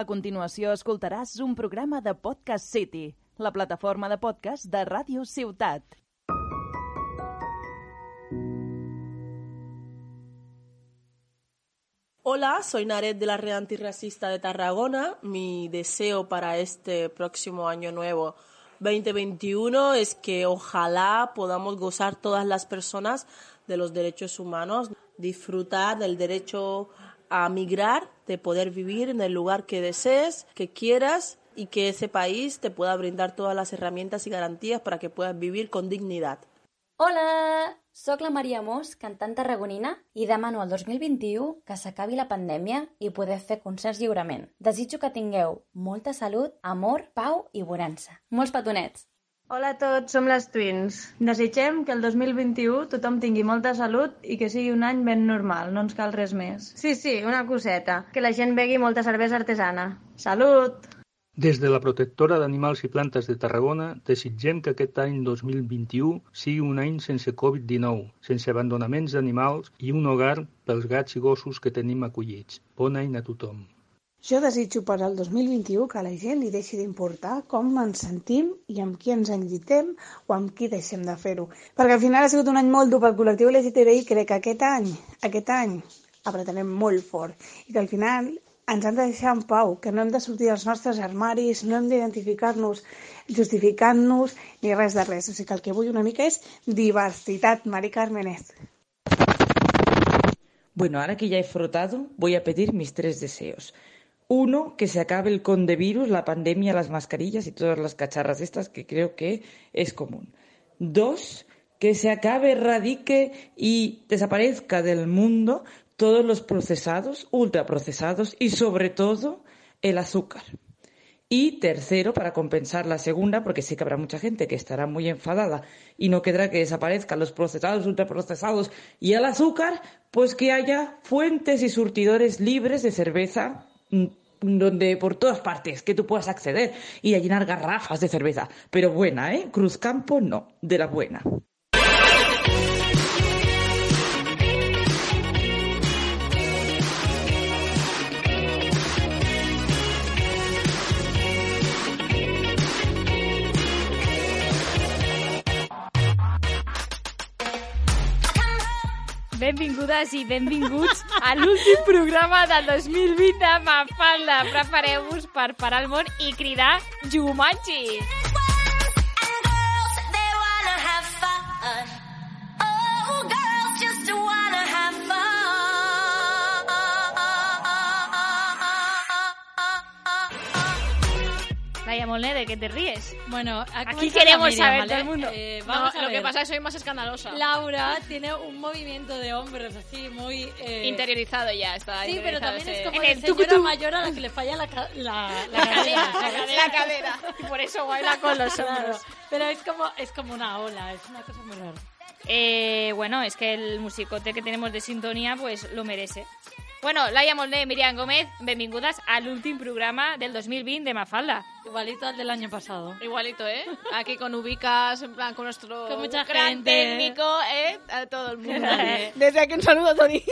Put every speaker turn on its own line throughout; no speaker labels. A continuació escoltaràs un programa de Podcast City, la plataforma de podcast de Ràdio Ciutat.
Este
Hola, soy Naret de la Red Antirracista de Tarragona. Mi deseo para este próximo año nuevo 2021 es que ojalá podamos gozar todas las personas de los derechos humanos, disfrutar del derecho a migrar, de poder vivir en el lugar que desees, que quieras y que ese país te pueda brindar todas las herramientas y garantías para que puedas vivir con dignidad.
Hola! Soc la Maria Mos, cantant tarragonina, i demano al 2021 que s'acabi la pandèmia i poder fer concerts lliurement. Desitjo que tingueu molta salut, amor, pau i bonança. Molts petonets!
Hola a tots, som les Twins. Desitgem que el 2021 tothom tingui molta salut i que sigui un any ben normal, no ens cal res més. Sí, sí, una coseta. Que la gent begui molta cervesa artesana. Salut!
Des de la Protectora d'Animals i Plantes de Tarragona, desitgem que aquest any 2021 sigui un any sense Covid-19, sense abandonaments d'animals i un hogar pels gats i gossos que tenim acollits. Bon any a tothom.
Jo desitjo per al 2021 que a la gent li deixi d'importar com ens sentim i amb qui ens enllitem o amb qui deixem de fer-ho. Perquè al final ha sigut un any molt dur pel col·lectiu LGTBI i crec que aquest any, aquest any, apretarem molt fort i que al final ens han de deixar en pau, que no hem de sortir dels nostres armaris, no hem d'identificar-nos justificant-nos ni res de res. O sigui que el que vull una mica és diversitat, Mari Carmenet.
Bueno, ahora que ya he frotado, voy a pedir mis tres deseos. Uno, que se acabe el condevirus, la pandemia, las mascarillas y todas las cacharras estas que creo que es común. Dos, que se acabe, erradique y desaparezca del mundo todos los procesados, ultraprocesados y sobre todo el azúcar. Y tercero, para compensar la segunda, porque sí que habrá mucha gente que estará muy enfadada y no querrá que desaparezcan los procesados, ultraprocesados y el azúcar, pues que haya fuentes y surtidores libres de cerveza mm, donde por todas partes que tú puedas acceder y a llenar garrafas de cerveza, pero buena, ¿eh? Cruzcampo no, de la buena.
Benvingudes i benvinguts a l'últim programa del 2020 de Mafalda. Prepareu-vos per parar el món i cridar Jumanji! Vaya mole, ¿de qué te ríes?
Bueno, ha
Aquí
comenzado
queremos
Miriam,
saber
¿vale?
todo el mundo.
Eh,
No,
vamos a
lo
ver.
que pasa es que soy más escandalosa.
Laura tiene un movimiento de hombros así muy... eh,
Interiorizado ya, está.
Sí, pero también es como
En el
de señora
tucutú.
mayor a la que le falla la, ca- la, la
La
cadera.
cadera, la
¿sabes?
cadera. La cadera. Y por eso baila con los
Claro,
hombros.
Pero es como, es como una ola, es una cosa muy rara.
Eh, bueno, es que el musicote que tenemos de sintonía pues lo merece. Bueno, Laia Molde, Miriam Gómez, benvingudes a l'últim programa del 2020 de Mafalda.
Igualito al del año pasado.
Igualito, ¿eh? Aquí con ubicas, en plan, con nuestro
Con mucha
gran
gente.
técnico, ¿eh? A todo el mundo.
Des d'aquí un saludo, Toni.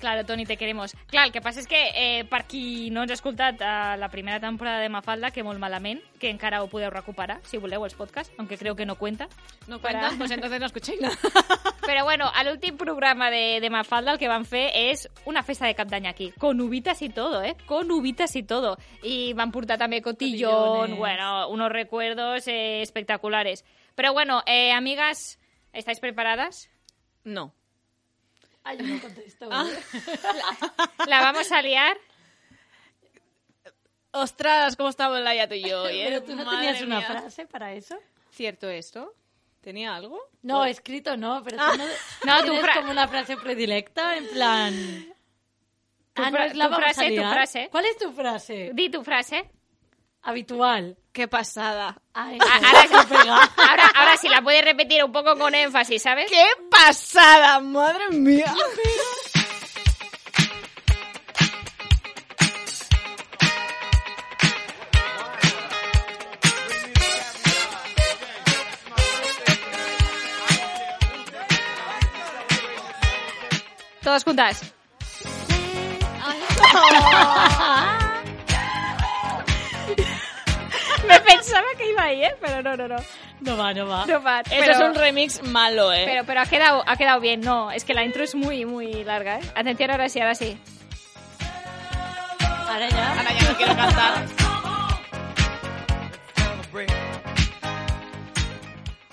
Claro, Toni, te queremos. Clar, el que passa és que eh, per qui no ens ha escoltat eh, la primera temporada de Mafalda, que molt malament, que encara ho podeu recuperar, si voleu, els podcasts, aunque creo que no cuenta.
No
Para-
cuentas, pues entonces no escuchéis nada.
Però bueno, a l'últim programa de, de Mafalda el que van fer és una festa de cap d'any aquí, con uvitas y todo, eh? Con uvitas y todo. I van portar també cotillón,
Cotillones.
bueno, unos recuerdos eh, espectaculares. Però bueno, eh, amigas, ¿estáis preparadas?
No. pues,
Ay, yo no contesto.
Ah.
¿La vamos a liar?
Ostras, ¿cómo estamos Laia tú y yo hoy, eh?
Pero tú no
Madre
tenías una
mía.
frase para eso.
¿Cierto esto? ¿Tenía algo?
No, escrito no, pero
Ah.
tú no,
No, tu
tienes
fra-
como una frase predilecta, en plan...
Tu
Ah, no,
fra-
es la
tu
vamos a
frase, tu
liar.
frase.
¿Cuál es tu frase?
Di tu frase.
Habitual. Ah,
¡Qué pasada! Ah,
A-
Ay, no,
Ah, Ahora,
se pega.
ahora, ahora sí la puedes repetir un poco con énfasis, ¿sabes?
¡Qué pasada, madre mía!
Todas juntas. ahí, ¿eh? Pero no, no, no.
No va, no va.
No va,
Eso
pero-
es un remix malo, ¿eh?
Pero, pero ha, quedado, ha quedado bien, no. Es que la intro es muy, muy larga, ¿eh? Atención, ahora sí, ahora sí.
Ahora ya.
Ahora ya no quiero cantar.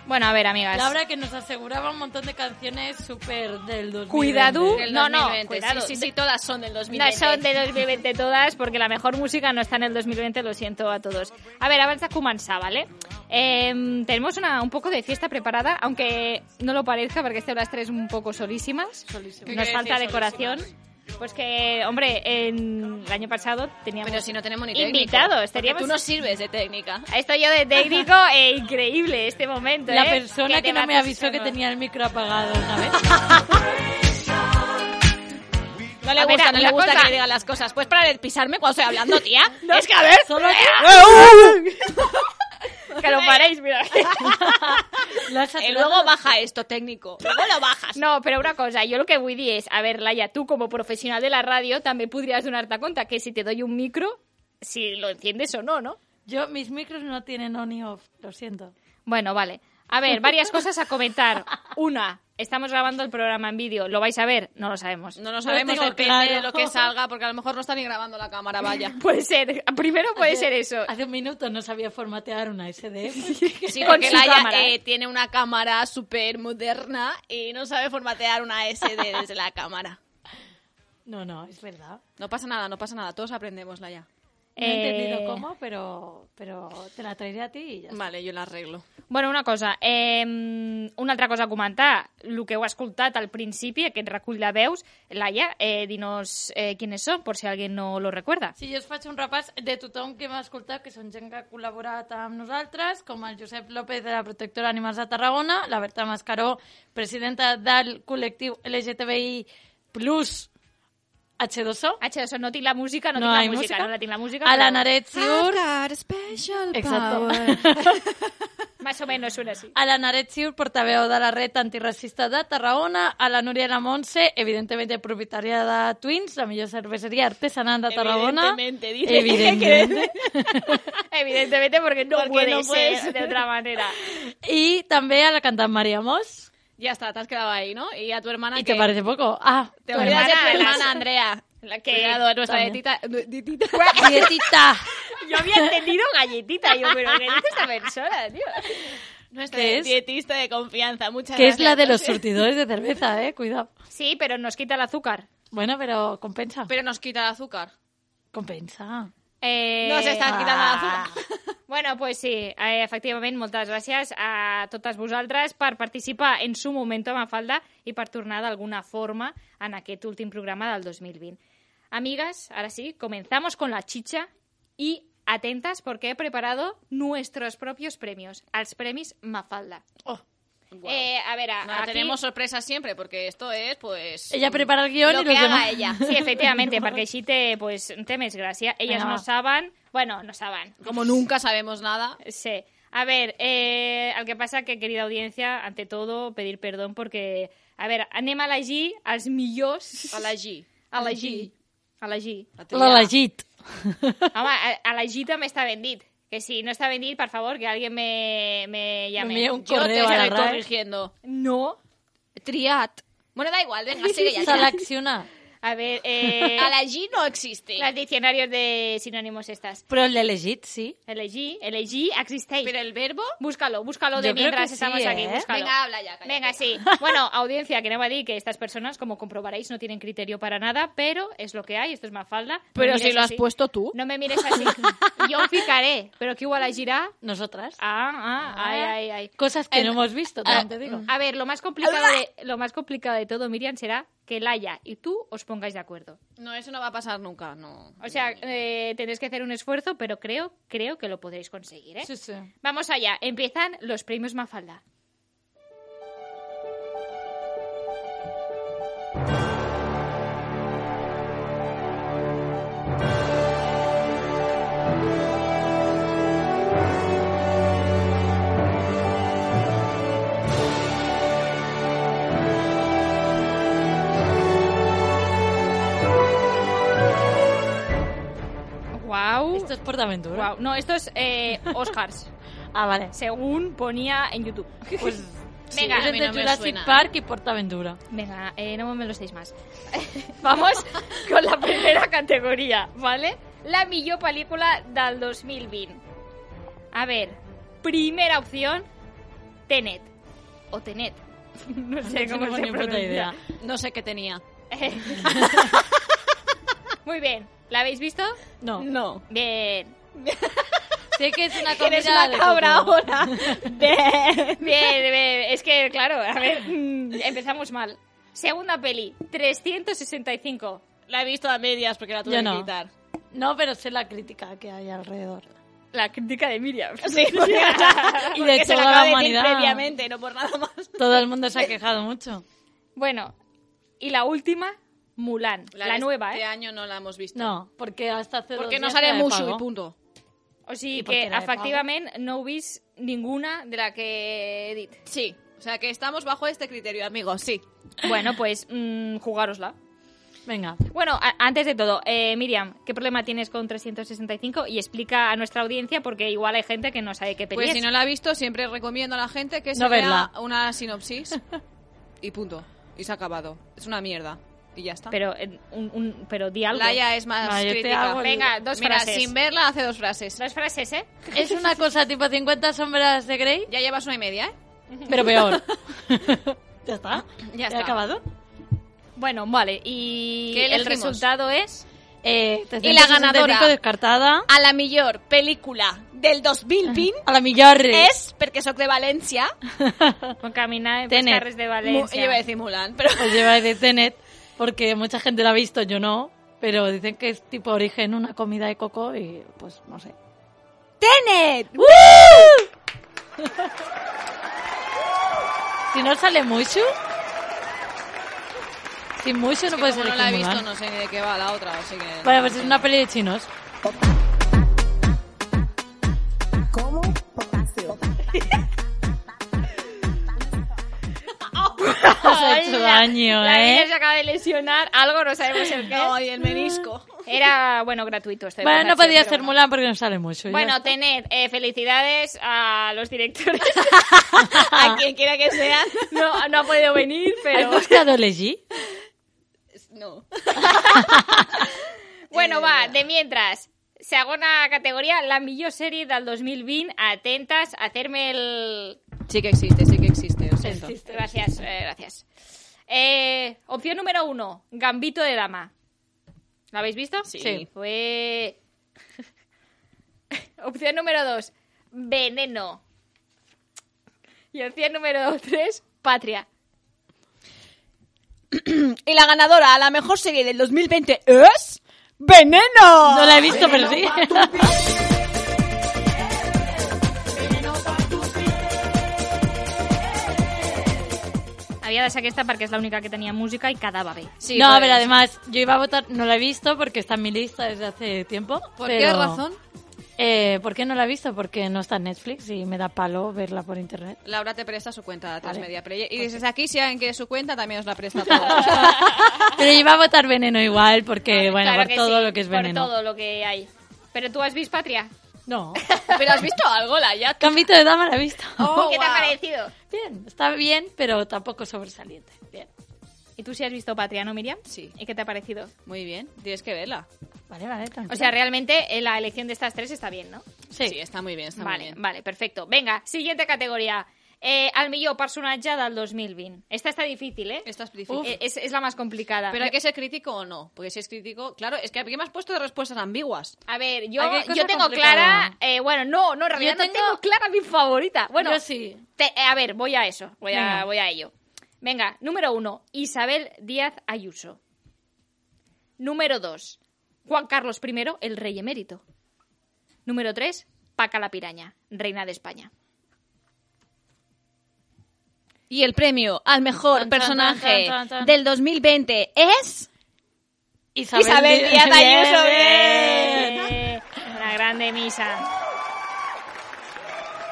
Bueno, a ver, amigas.
Laura que nos aseguraba un montón de canciones súper del 2020.
Cuidadú.
Del
No, no,
2020,
cuidado,
Sí, sí,
de-
sí, todas son del
No
2020.
son de 2020 todas, porque la mejor música no está en el 2020, lo siento a todos. A ver, avanza Kumansa, ¿vale? Em, tenemos una, un poco de fiesta preparada, aunque no lo parezca, porque este las tres un poco solísimas.
¿Qué
Nos
quiere
falta
decir
decoración. Pues que, hombre, en, el año pasado teníamos...
Pero si no tenemos ni técnico.
Invitados,
Porque
teníamos-
Tú no sirves de técnica.
Estoy yo de técnico e increíble este momento.
La
¿eh?
persona
te
que no me
matas
avisó que
solo.
tenía el micro apagado una vez.
No le
A ver,
gusta, no
una
le gusta
cosa.
que le digan las cosas. Pues para de pisarme cuando estoy hablando, tía. Es que a ver.
Solo
Eh, uh, Que lo paréis, mira.
lo has
Y
saturado.
luego baja esto, técnico. Luego lo bajas.
No, però una cosa, jo el que vull dir és, a veure, Laia, tu com a professional de la ràdio també podries donar-te compte que si te doy un micro, si lo entiendes o no, ¿no?
Yo, mis micros no tienen on y off, lo siento.
Bueno, vale. A ver, varias cosas a comentar. Una, estamos grabando el programa en vídeo. ¿Lo vais a ver? No lo sabemos.
No lo sabemos,
tengo
depende
claro.
de lo que salga, porque a lo mejor no está ni grabando la cámara, vaya.
Puede ser. Primero puede ser eso.
Hace un minuto no sabía formatear una SD.
Sí,
Con
porque
su
Laia
cámara,
eh,
¿eh?
tiene una cámara súper moderna y no sabe formatear una SD desde la cámara.
No, no, es verdad.
No pasa nada, no pasa nada. Todos aprendemos, Laia.
No he
Eh,
entendido cómo, pero, pero te la traeré a ti y ya. está.
Vale, yo la arreglo.
Bueno, una cosa, eh, una altra cosa a comentar, el que heu escoltat al principi, aquest recull de veus, Laia, eh, dinos eh, quiénes son, por si alguien no lo recuerda.
Si jo us faig un repàs de tothom que m'ha escoltat, que són gent que ha col·laborat amb nosaltres, com el Josep López de la Protectora d'Animals de Tarragona, la Berta Mascaró, presidenta del col·lectiu LGTBI Plus H2O,
H, eso no tinc la música, no,
No
tinc la
hay
música,
música.
no la tinc la música.
Ah,
a la
pero
Naret Siur, Exacto.
Más o menos suena así.
a la Naret Siur, portaveu de la red antiracista de Tarragona, a la Núria La Montse, evidentment propietària de Twins, la millor cerveseria artesanal de Tarragona.
Evidentemente, dice.
Evidentment.
Evidentemente, porque no
Porque
puede
no puede
ser
ser.
de otra manera.
I també a la cantant Maria Moss.
Ya está, te has quedado ahí, ¿no? Y a tu hermana
¿Y
que
te parece poco? Ah,
te
tu
olvidas de
hermana,
tu
la-
hermana Andrea.
La que-
Que Cuidado, nuestra
También.
detita, detita.
hermana. Dietita.
Yo había entendido galletita, yo, pero ¿qué dice esta persona, tío?
Nuestra
¿Qué es?
dietista de confianza, muchas
Que
gracias.
es la de los surtidores de cerveza, eh, cuidado.
Sí, pero nos quita el azúcar.
Bueno, pero compensa.
Pero nos quita el azúcar.
Compensa.
Eh,
Nos están quitando el azúcar.
Bueno, pues sí, eh, efectivament, moltes gràcies a totes vosaltres per participar en su moment a Mafalda i per tornar d'alguna forma en aquest últim programa del 2020. Amigas, ahora sí, comenzamos con la chicha y atentas porque he preparado nuestros propios premios, els premis Mafalda.
Oh,
Eh, a ver,
No, tenemos sorpresas siempre porque esto es, pues.
Ella prepara el guión
lo
y
que
los
haga
demás.
ella.
Sí, efectivamente, perquè així té, pues, té més gràcia. Elles
Vinga,
no
va.
saben... Bueno, no saben.
Como nunca sabemos nada.
Sí. A ver, eh, el que passa que, querida audiència, ante todo, pedir perdón porque... A veure, anem a elegir els millors...
A la G.
A elegir. A elegir.
La legit.
Home, a- a elegir també està ben dit. Que si no està ben dit, per favor, que alguien me, me llame.
envía un
Yo te
correo a la
estoy
RAE.
corrigiendo.
No.
Triat. Bueno, da igual, venga, sigue ya.
Selecciona.
A ver, eh,
A la G no existe.
los diccionarios de sinónimos estas.
Però el de legit, sí.
Elegir, elegir, existeix.
Pero el verbo.
Búscalo, búscalo
Yo
de
creo
mientras
que sí,
estamos aquí.
¿eh?
Búscalo.
Venga, habla ya. cállate.
Venga, sí. Bueno, audiencia, que no va a decir que estas personas, como comprobaréis, no tienen criterio para nada, pero es lo que hay, esto es Mafalda. No
Pero
me
si
mires
lo has
así.
puesto tú.
No me mires así. Yo picaré, pero que igual agirá.
Nosotras.
Ah, ah, ay, ay, ay.
Cosas que no hemos visto,
ah,
también te digo.
A ver, lo más complicado de, lo más complicado de todo, Miriam, será que Laia y tú os pongáis de acuerdo.
No, eso no va a pasar nunca, no.
O sea, eh, tendréis que hacer un esfuerzo, pero creo, creo que lo podréis conseguir, ¿eh?
Sí, sí.
Vamos allá, empiezan los premios Mafalda. Wow.
Esto es Portaventura.
Uh.
Guau, No, esto es eh, Oscars.
Ah, vale.
según ponía en YouTube.
Pues sí,
Venga,
es
a mí no
entre
me
Jurassic
suena.
Park y Portaventura.
Venga, eh, no me lo estéis más. Vamos con la primera categoria, ¿vale? La millor pel·lícula del 2020. A ver, primera opción, Tenet. O Tenet. No sé
No
cómo
tengo
se
ni puta
pronuncia.
idea.
No sé qué tenía.
Muy bien, ¿la habéis visto?
No.
No.
Bien.
Sé que es una comida
Eres una
de
cabra
coco.
ahora. De-
Bien, bien. es que, claro, a ver, mm, empezamos mal. Segunda peli, 365.
La he visto a medias porque la tuve
Yo
que
no.
quitar.
No, pero sé la crítica que hay alrededor.
La crítica de Miriam.
Sí, porque, o sea,
Y de
porque se
toda
la acaba
la
de decir
humanidad.
previamente, no por nada más.
Todo el mundo se ha quejado mucho.
Bueno, y la última, Mulan. La,
de
nueva,
Este
¿eh?
año no la hemos visto.
No, porque hasta hace
Porque
dos
no
días
sale
era de
mucho
pago.
y punto.
O sigui
I per
que,
què era de pago?
efectivament, no heu vist ninguna de la que he dit.
Sí. O sea que estamos bajo este criterio, amigos, sí.
Bueno, pues, mm, jugárosla.
Venga.
Pues
Bueno, a- antes de todo, eh, Miriam, ¿qué problema tienes con 365? Y explica a nuestra audiencia, porque igual hay gente que no sabe qué peli
Pues
es.
si no la ha visto, siempre recomiendo a la gente que se
No
vea
verla.
una sinopsis y punto. Y se ha acabado. Es una mierda. Y ya está.
Pero, eh, un, un- pero di algo.
Laia es más
No, yo te
crítica.
hago el-
Venga, dos
Mira,
frases.
sin verla hace dos frases.
Dos frases, ¿eh?
Es una cosa tipo 50 sombras de Grey,
Ya llevas una y media, ¿eh?
pero peor. ¿Ya está?
Ya
¿He
está.
acabado?
Bueno, vale. Y
¿Qué
el
elegimos?
resultado es...
Eh,
Y la ganadora.
descartada.
A la millor película del 2020
A la millar.
es, porque soy de Valencia,
Con caminar en
Tenet.
carres de
Mu-
Valencia.
yo iba a decir Mulan, pero
Pues lleva de Tenet, porque mucha gente la ha visto, yo no. Pero dicen que es tipo origen una comida de coco y pues no sé.
¡Tenet!
Si no sale Mushu... Sin Mushu no puedes
como no
elegir
la he
Mulan.
visto, no sé ni de qué va la otra, así que...
Bueno, pues es una peli de chinos. ¿Cómo? Has hecho daño,
La niña
¿eh?
se acaba de lesionar, algo no sabemos el qué.
No, y el menisco.
Era, bueno, gratuito.
pues
esto de
Bueno, no
donación,
podía
pero
ser
bueno.
Mulan porque no sale mucho. Pues ya
Bueno,
está.
tened eh, felicidades a los directores.
A quien quiera que sea.
No, no ha podido venir, pero...
¿Has buscado Legi?
No.
Bueno, va, de mientras. Segona categoria, la millor sèrie del 2020. Atentes a fer-me el...
Sí que existe, sí que existe, lo siento.
Gracias, eh, gracias. Eh, opción número uno, Gambito de Dama. ¿La habéis visto?
Sí.
Fue... opción número dos, Veneno. Y opción número tres, Patria.
Mm,
Y la ganadora a la mejor serie del 2020 es... ¡Veneno!
No la he visto, pero sí.
Havia de ser aquesta perquè és l'única que tenia música i quedava bé.
Sí, pues,
no,
joder.
pero además, yo iba a votar, no la he visto porque está en mi lista desde hace tiempo.
¿Por
pero-
qué razón?
Eh, ¿Por qué no la he visto? Porque no está en Netflix y me da palo verla por internet.
Laura te presta su cuenta a Tres
Vale.
Media Player. Y dices aquí, si alguien quiere su cuenta, también os la presta a todos.
Pero yo iba a votar veneno igual porque, eh, bueno,
Claro
por
que
todo
sí,
lo que es veneno.
Por todo lo que hay. Pero tú has visto Patria.
No.
¿Pero has visto algo, Laia?
Cambito de dama la he visto.
Oh,
¿Qué te ha
guau.
parecido?
Bien, está bien, pero tampoco sobresaliente. Bien.
¿Y tú sí has visto Patria, no, Miriam?
Sí.
¿Y qué te ha parecido?
Muy bien, tienes que verla.
Vale, vale, tranquilo.
O sea, realmente eh, la elección de estas tres está bien, ¿no?
sí.
está muy bien, está
vale,
muy bien.
vale, perfecto. Venga, siguiente categoría. Eh, el millor personatge del 2020. Esta está difícil, ¿eh?
Esta es difícil.
Eh, Es, es la más complicada.
Pero hay
Yo-
que ser crítico o no, porque si es crítico, claro, es que aquí me has puesto de respuestas ambiguas.
A ver, yo,
Aquí hay cosa
yo tengo
complicada.
clara... eh, bueno, no, no, en realidad
Yo
no tengo clara mi favorita. Bueno,
Yo sí.
te- eh, a ver, voy a eso, voy a,
Venga.
voy a ello. Venga, número uno, Isabel Díaz Ayuso. Número dos, Juan Carlos I, el rey emérito. Número tres, Paca la Piraña, reina de España.
Y el premio al mejor
Tan, tan,
personaje
tan, tan, tan.
del 2020 es...
Isabel,
Isabel Díaz Ayuso,
bien, bien.
Eh, la grande misa.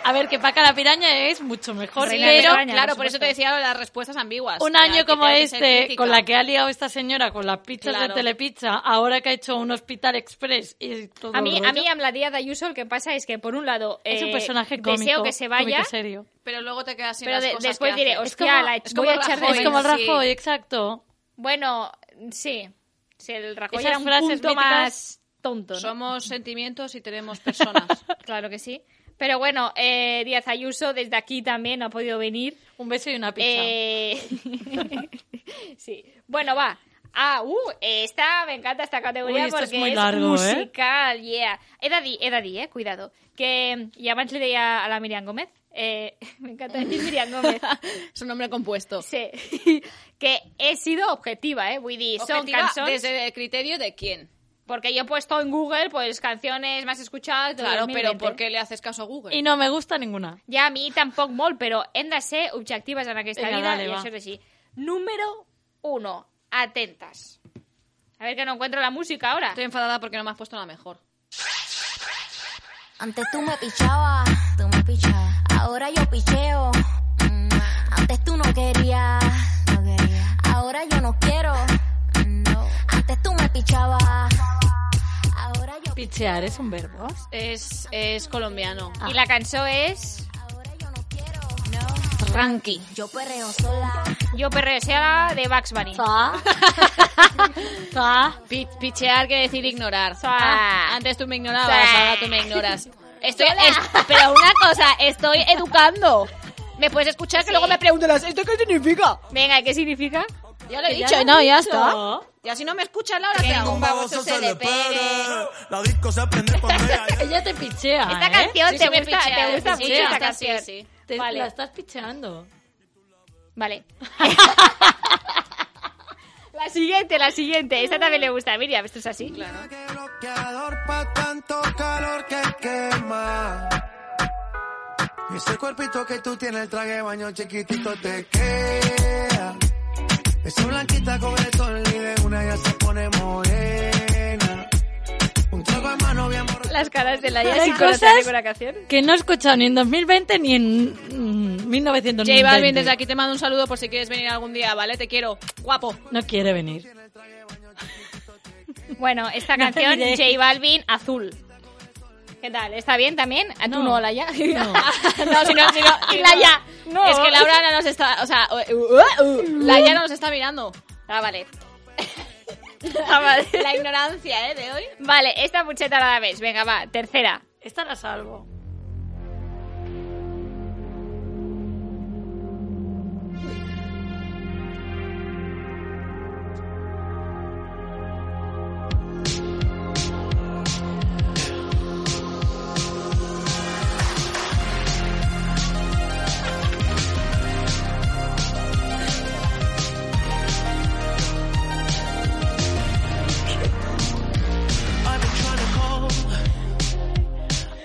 A ver, que Paca la Piraña es mucho mejor,
Reina de
pero
España,
claro,
por
por eso
supuesto.
te decía las respuestas ambiguas.
un
que hay
año
que
como
tener que ser
este,
crítica.
con la que ha liado esta señora con las pizzas
Claro.
de Telepizza, ahora que ha hecho un hospital express y todo
A mí,
el
a
eh,
rollo,
mí, amb la tía de Ayuso, el que pasa es que, por un lado,
es un
eh,
personaje cómico,
deseo que se vaya,
cómico serio.
Pero luego te quedas sin
Pero
las
de-
cosas
después
que
diré,
hace.
"Hostia, la- voy a echar de
Rajoy,
Es como el
sí.
Rajoy, exacto.
Bueno, sí. Si el Rajoy
Esas
era un
frases
punto
míticas-
más tonto. ¿no?
Somos sentimientos y tenemos personas.
Claro que sí. Pero bueno, eh, Díaz Ayuso desde aquí también no ha podido venir.
Un beso y una pizza.
Eh, sí. Bueno, va. Ah, uh, esta, me encanta esta categoria
Ui, esto és
perquè
muy
és,
largo, eh?
musical, yeah. He de dir, he de dir, eh, cuidado, que i abans li deia a la Miriam Gómez, eh, m'encanta decir Miriam Gómez,
es un nombre compuesto.
sí, que he sido objetiva, eh, vull dir, són
Objetiva
cançons...
desde el criterio de quién.
Porque yo he puesto en Google, pues, canciones más escuchadas de
Claro, pero
2020.
¿por qué le haces caso a Google?
Y no me gusta ninguna.
Ja a mi tampoc molt, però hem de ser objectives en aquesta
Vinga,
vida,
dale,
i
va.
això és així. Número 1. Atentas. A ver que no encuentro la música ahora.
Estoy enfadada porque no me has puesto la mejor.
Antes tú me pichabas, tú me pichabas. Ahora yo picheo. Mm, Antes tú no querías, no quería. Ahora yo no quiero. No. Antes tú me pichabas. Ahora yo
Pichear es un verbo.
Es, es colombiano.
I la cançó és...
Ahora yo no quiero. No.
Ranky.
Yo perreo sola.
Yo perreo sea de Bugs Bunny.
Pi- pichear quiere decir ignorar.
Ah.
Antes tú me ignorabas,
Ah.
ahora tú me ignoras. Estoy, es- pero una cosa, estoy educando. ¿Me puedes escuchar? Que luego me preguntarás, ¿esto qué significa?
Venga, ¿qué significa?
Ya lo he
Que ya
dicho,
lo
no,
he
ya
dicho.
está. Y así no me escuchas, Laura, ¿qué hago? ¿Eh?
La disco se prende cuando ella
Ella te pichea.
Esta
¿eh?
canción
Sí,
te,
sí, me
gusta,
pichea,
te gusta
sí,
mucho
sí,
esta
está,
canción.
sí, sí.
Te-
Vale,
La estás picheando.
vale. la siguiente, la siguiente. Esta también le gusta a Miriam, esto es así.
que bloqueador pa' tanto calor que quema. Y ese cuerpito que tú tienes, el traje de baño chiquitito te queda. Esa blanquita con el sol y de una ya se pone morena. Un trago de mano bien borracho.
Las caras de la Yas
Hay
y con
cosas-
la canción.
Que no he escuchado ni en 2020 ni en mm, 1990.
J Balvin, desde aquí te mando un saludo por si quieres venir algún día, ¿vale? Te quiero. Guapo.
No quiere venir.
Bueno, esta
No
canción,
miréis.
J Balvin, Azul. ¿Qué tal? ¿Está bien también? ¿A tú no,
No.
la ya?
No.
No, si no, si no. si
la
no.
ya. No.
Es que Laura no nos está. O sea, uh, uh, uh, la ya no nos está mirando.
Ah, vale. Ah, vale.
La ignorancia, ¿eh? De hoy.
Vale, esta pucheta la ves. Venga, va, tercera.
Esta la salvo.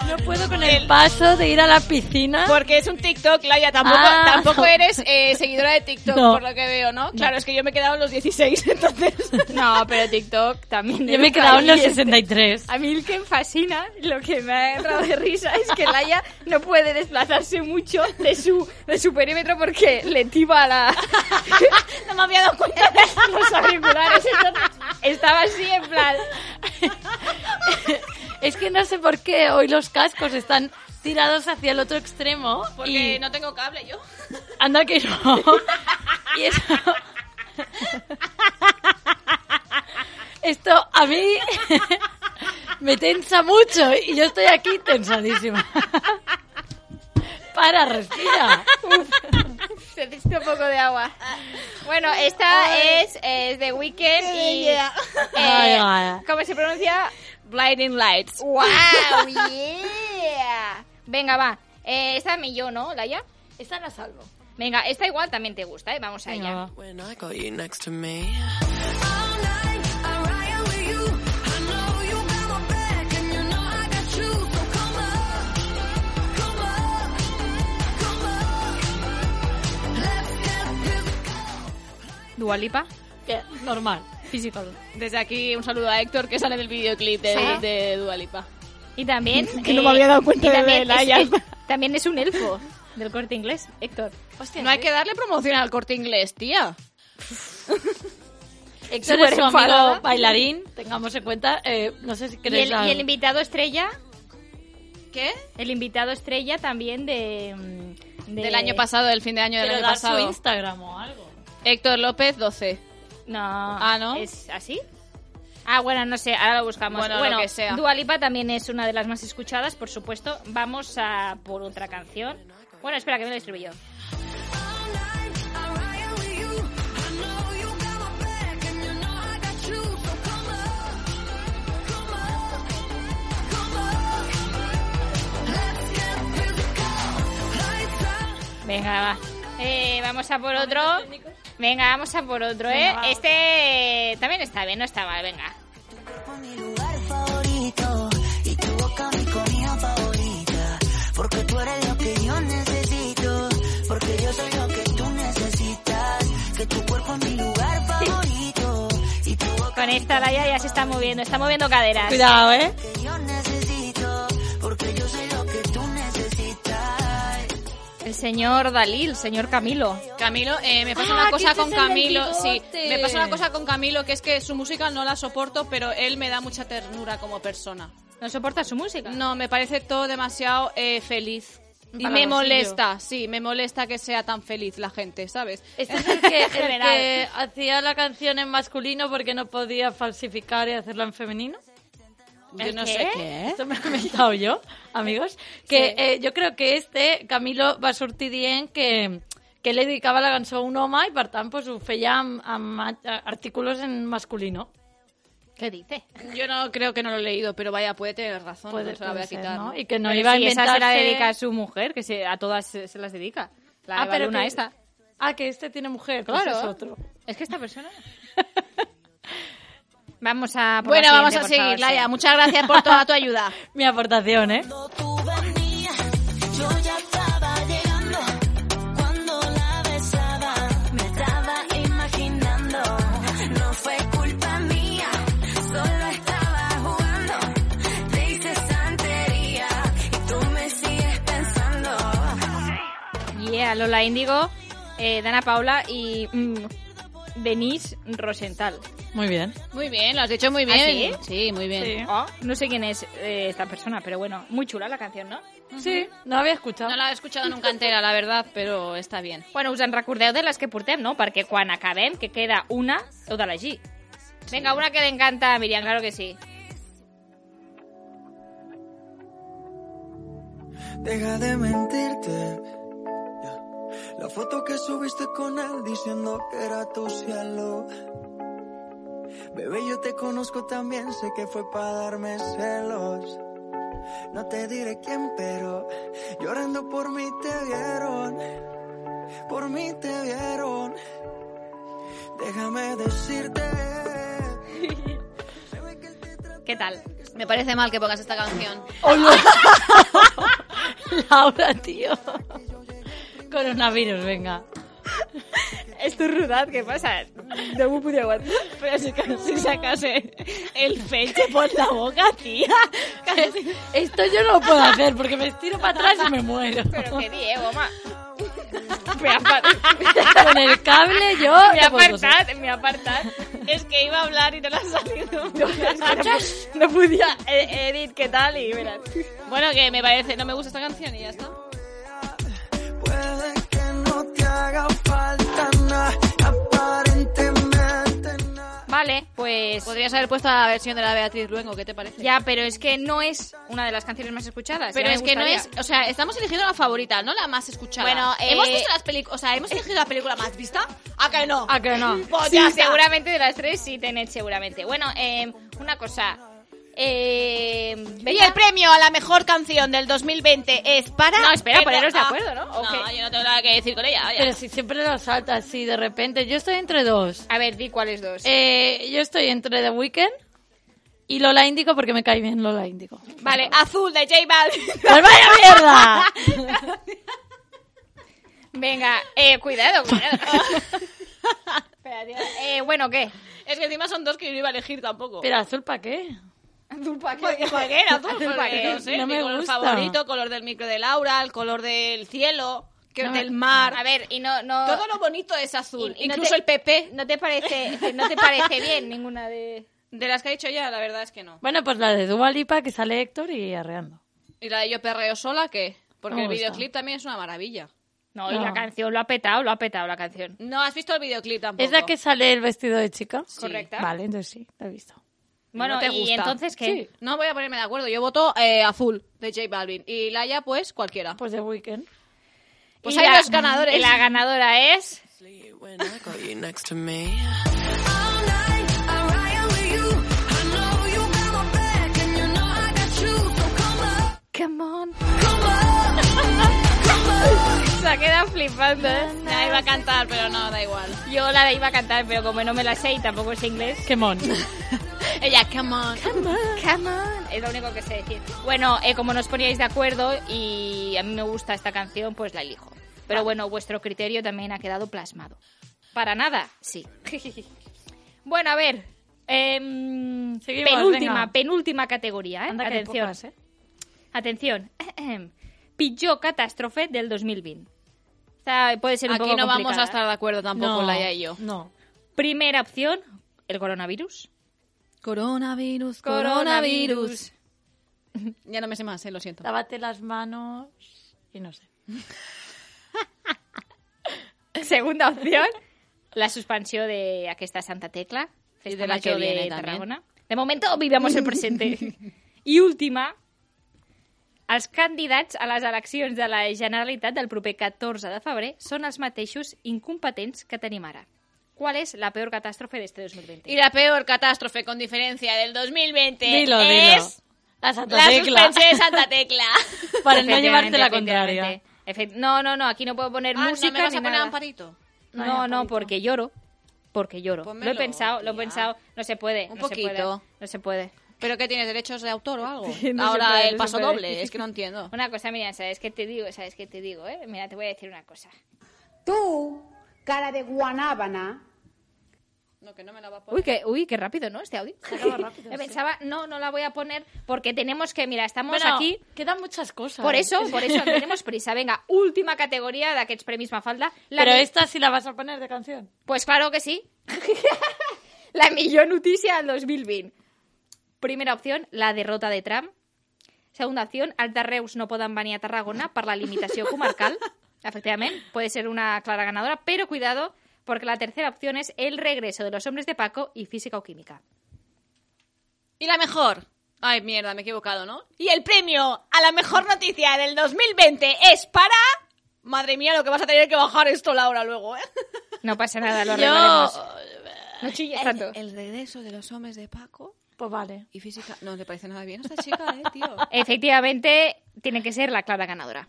No puedo con el paso de ir a la piscina.
Porque es un TikTok, Laia. Tampoco,
Ah.
tampoco eres eh, seguidora de TikTok,
No.
por lo que veo, ¿no? Claro, es que yo me he quedado en los 16, entonces.
No, pero TikTok también.
Yo me he quedado en los 63.
A mí el que me fascina, lo que me ha entrado de risa es que Laia no puede desplazarse mucho de su, de su perímetro porque le tiba la,
no me había dado cuenta.
los auriculares. Entonces estaba así en plan...
Es que no sé por qué hoy los cascos están tirados hacia el otro extremo.
Porque
y...
no tengo cable yo.
Anda que no. Y eso... Esto a mí me tensa mucho y yo estoy aquí tensadísima. Para, respira.
Necesito un poco de agua. Bueno, esta es, es de Weekend y... eh,
Ay, ay.
¿Cómo se pronuncia?
Blinding Lights.
¡Wow! ¡Yeah! Venga, va. Eh, esta mi yo, ¿no, Laia?
Esta la salvo.
Venga, esta igual también te gusta, ¿eh? Vamos allá.
Venga, va.
When I got you next to me.
Dualipa.
Que, normal. Physical.
Desde aquí un saludo a Héctor que sale en el videoclip de,
Sí.
de Dualipa.
Y también... eh,
Que no me había dado cuenta de
y también
Laia.
es- es- También es un elfo del corte inglés, Héctor. Hostia,
No hay que darle promoción al corte inglés, tía.
Héctor
Súper
es su
enfadada.
amigo bailarín, tengamos en cuenta. eh, no sé si
¿Y
queréis...
el,
a-
y el invitado estrella,
¿Qué?
el invitado estrella también de, mm, de-
Del año pasado, del fin de año del
Pero
año
dar
pasado.
su Instagram o algo.
Héctor López, 12.
No.
Ah, ¿no?
¿Es así? Ah, bueno, no sé, ahora lo buscamos.
Bueno, lo que sea.
Dua Lipa también es una de las más escuchadas, por supuesto. Vamos a por otra canción. Bueno, espera, que me lo escribí yo. Venga, va. Eh, vamos a por otro. Venga, vamos a por otro, ¿eh?
Venga, vamos.
Este eh, también está bien, no está mal, venga.
favorito y tu boca mi comida favorita. Porque tú eres lo que yo necesito, porque yo soy lo que tú necesitas. Que tu cuerpo es mi lugar favorito y tu boca
Con esta Laia ya se está moviendo, está moviendo caderas.
Cuidado, ¿eh?
que yo necesito, porque yo soy lo que tú necesitas.
El señor Dalí, el señor Camilo.
Camilo, eh, me pasa
Ah,
una
que
cosa
este
con
es el del
Camilo. Sí,
bigote.
me pasa una cosa con Camilo, que es que su música no la soporto, pero él me da mucha ternura como persona.
¿No soporta su música?
No, me parece todo demasiado eh, feliz. Y me
Palabrosillo.
molesta, sí, me molesta que sea tan feliz la gente, ¿sabes?
Este es el que, el
General.
que hacía la canción en masculino porque no podía falsificar y hacerla en femenino.
Yo no
¿Qué?
sé qué.
Esto me lo he inventado yo, amigos. Que eh, yo creo que este, Camilo va sortir dient que, que le dedicava la cançó a un home i, per tant, pues, ho feia amb, amb a- artículos en masculino.
¿Qué dice?
Yo no creo que no lo he leído, pero vaya, puede tener razón.
Puede,
no se la voy
puede
a
ser,
quitar.
¿no? Y que no
Pero
iba a
si esa se la
inventarse-
dedica a su mujer, que se, a todas se, se las dedica. La
Ah,
Eva Luna
que-
esta.
Ah, que este tiene mujer, pues
Claro.
es otro.
Es que esta persona... vamos a... por la
Bueno, vamos
siguiente,
a
por
seguir,
favor,
Laia.
sí.
Muchas gracias por toda tu ayuda.
Mi aportación, ¿eh?
Tú venías, yo ya estaba llegando. Cuando la besaba, me estaba imaginando. No fue culpa mía, solo estaba jugando. Te hice santería y tú me sigues pensando.
Yeah, Lola Índigo, eh, Dana Paula y mm, Denise Rosenthal.
Muy bien. ¿Ah,
Muy bien, lo has dicho muy bien. sí? muy bien.
Sí.
Oh, no sé quién es eh, esta persona, pero bueno, muy chula la canción, ¿no?
Sí, no l'havia escuchado.
No la he escuchado nunca entera, la verdad, pero está bien.
Bueno, us en recordeu de les que portem, no? Perquè quan acabem, que queda una, tota heu d'elegir. Vinga, una que le encanta a Miriam, claro que sí.
Deja de mentirte. Ya. La foto que subiste con él diciendo que era tu cielo. Bebé, yo te conozco también, sé que fue para darme celos. No te diré quién, pero llorando por mí te vieron. Por mí te vieron. Déjame decirte.
Què tal?
Me parece mal que pongas esta canción.
Laura, tío. Coronavirus, venga.
Esto rodat, què passa? No m'ho podeu aguantar. Però sí que si sacase el fetge por la boca, tia.
Esto yo no lo puedo hacer porque me estiro para atrás y me muero.
Però què dieu, home? M'he apartat,
Con el cable yo...
m'he
no puedo cosas.
apartat, m'he apartat. És que iba a hablar y no l'ha salido. No, no podia. He, he dit què tal i mira.
Bueno, que me parece, no me gusta esta canción y ya está.
Puede que no te haga falta nada, aparentemente nada.
Vale, pues...
Podrías haber puesto la versión de la Beatriz Luengo, ¿qué te parece?
Ya, pero es que no es una de las canciones más escuchadas.
Pero
ya me
es que no
gustaría.
es, o sea, estamos eligiendo la favorita, no la más escuchada.
Bueno, eh,
hemos visto las películas, o sea, hemos elegido la película más vista. ¿A que no?
¿A que no?
Pues
Sí,
ya está.
Oh, seguramente de las tres sí tened seguramente. Bueno, eh, una cosa. Eh,
Y
venga.
el premio a la mejor canción del 2020 es para.
No, espera,
Pero-
poneros de
ah,
acuerdo, ¿no? ¿O
no,
qué?
yo no tengo nada que decir con ella. vaya.
Pero si siempre lo saltas así de repente. Yo estoy entre dos.
A ver, di cuáles dos.
Eh, yo estoy entre The Weeknd y Lola Índigo porque me cae bien Lola Índigo.
Vale, azul de J Balvin.
¡Pues vaya mierda!
Venga, eh, cuidado, cuidado. Espera, tío. eh, bueno, ¿qué?
Es que encima son dos que yo no iba a elegir tampoco.
¿Pero azul para qué? Eh,
Dulpaquera.
Dulpaquera, tú.
Dulpaquera,
no sé,
no me
mi color
gusta.
favorito, color del micro de Laura, el color del cielo, que
No me-
del mar.
A ver, y no, no.
Todo lo bonito es azul,
y- y no
incluso
te-
el PP.
No te parece, este, no te parece bien ninguna de.
De las que ha dicho ya, la verdad es que no.
Bueno, pues la de Dualipa que sale Héctor y arreando.
¿Y la de Yo Perreo Sola qué? Porque
Me
el
gusta.
videoclip también es una maravilla.
No, y la canción lo ha petado, lo ha petado la canción.
No has visto el videoclip tampoco.
¿Es la que sale el vestido de chica?
Correcta.
Vale, entonces sí, la he visto.
Bueno,
Bueno,
te
y
gusta.
entonces, ¿qué?
Sí. No voy a ponerme de acuerdo. Yo voto eh, azul de J Balvin. Y Laia, pues cualquiera.
Pues de Weekend.
Pues
Y
hay
la-
dos ganadores.
y la ganadora es.
Got you next to me.
Come on. Se ha quedado flipando, ¿eh?
La iba a cantar, pero no, da igual.
Yo la iba a cantar, pero como no me la sé y tampoco sé inglés.
Come on.
Ella, come on. Come on. Es lo único que sé decir. Bueno, eh, como nos poníais de acuerdo y a mí me gusta esta canción, pues la elijo. Pero bueno, vuestro criterio también ha quedado plasmado. Para nada, sí. bueno, a ver. em,
Seguimos,
penúltima,
venga.
penúltima categoría, ¿eh?
Anda que hay
Atención.
pocas, ¿eh?
Atención. Pilló catástrofe del 2020. O sea, puede ser un
Aquí
poco
no vamos
complicada.
a estar de acuerdo tampoco,
No,
Laia y yo.
¿eh? No.
Primera opción, el coronavirus.
Coronavirus,
Coronavirus.
Ya no me sé más, eh, lo siento.
Lávate las manos y no sé.
Segunda opción, la suspensió de aquesta Santa Tecla, Festa
de la
Major
que viene
de
también.
Tarragona. De momento vivamos el presente. I última, els candidats a les eleccions de la Generalitat del proper 14 de febrer són els mateixos incompetents que tenim ara. ¿Cuál es la peor catástrofe de este 2020?
Y la peor catástrofe con diferencia del 2020
Dilo, dilo.
es
La Santa
la
Tecla.
suspensión de Santa Tecla.
Para no llevarte la
Efectivamente,
contraria.
efectivamente. Efe- No, no, no, aquí no puedo poner
Ah,
música
¿no me vas
ni
a poner
nada.
amparito?
No, no, porque lloro. Porque lloro.
Pónmelo,
lo he pensado, lo he
tía.
pensado. No se puede.
Un
no se puede,
poquito.
no se puede.
¿Pero qué tienes, derechos de autor o algo?
No se
Ahora
puede, no
el
se
paso
puede.
doble, es que no entiendo.
Una cosa, mira, sabes qué te digo, sabes qué te digo, ¿eh? Mira, te voy a decir una cosa.
Tú, cara de guanábana.
No, que no me la va a
Uy, qué, uy, qué rápido, ¿no? Este audio.
rápido,
Me pensaba, no, no la voy a poner porque tenemos que, mira, estamos
Bueno,
aquí.
Quedan muchas cosas.
Por eso, por eso, tenemos prisa. Venga, última categoría d'aquests Premis Mafalda. La
Pero
mi-
esta sí la vas a poner de canción.
Pues claro que sí. la millor notícia del 2020. Primera opción, la derrota de Trump. Segunda opción, els de Reus no poden venir a Tarragona per la limitació comarcal. Efectivament, puede ser una clara ganadora, pero cuidado, porque la tercera opción es el regreso de los hombres de Paco y física o química.
¿Y la mejor? Ay, mierda, me he equivocado, ¿no? Y el premio a la mejor noticia del 2020 es para... Madre mía, lo que vas a tener que bajar esto, Laura, luego, ¿eh?
No pasa nada, lo
Yo-
arreglaremos. No chilles tanto.
El, regreso de los hombres de Paco
Pues vale.
y física... No le parece nada bien a esta chica, ¿eh, tío?
Efectivamente, tiene que ser la clara ganadora.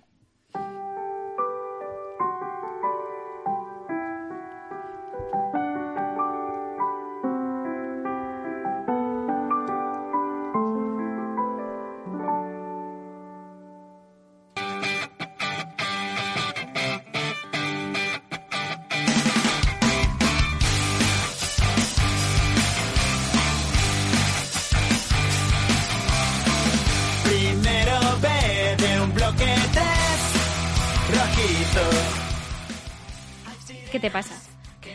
Primero B de un bloque 3, rojito.
¿Qué te pasa?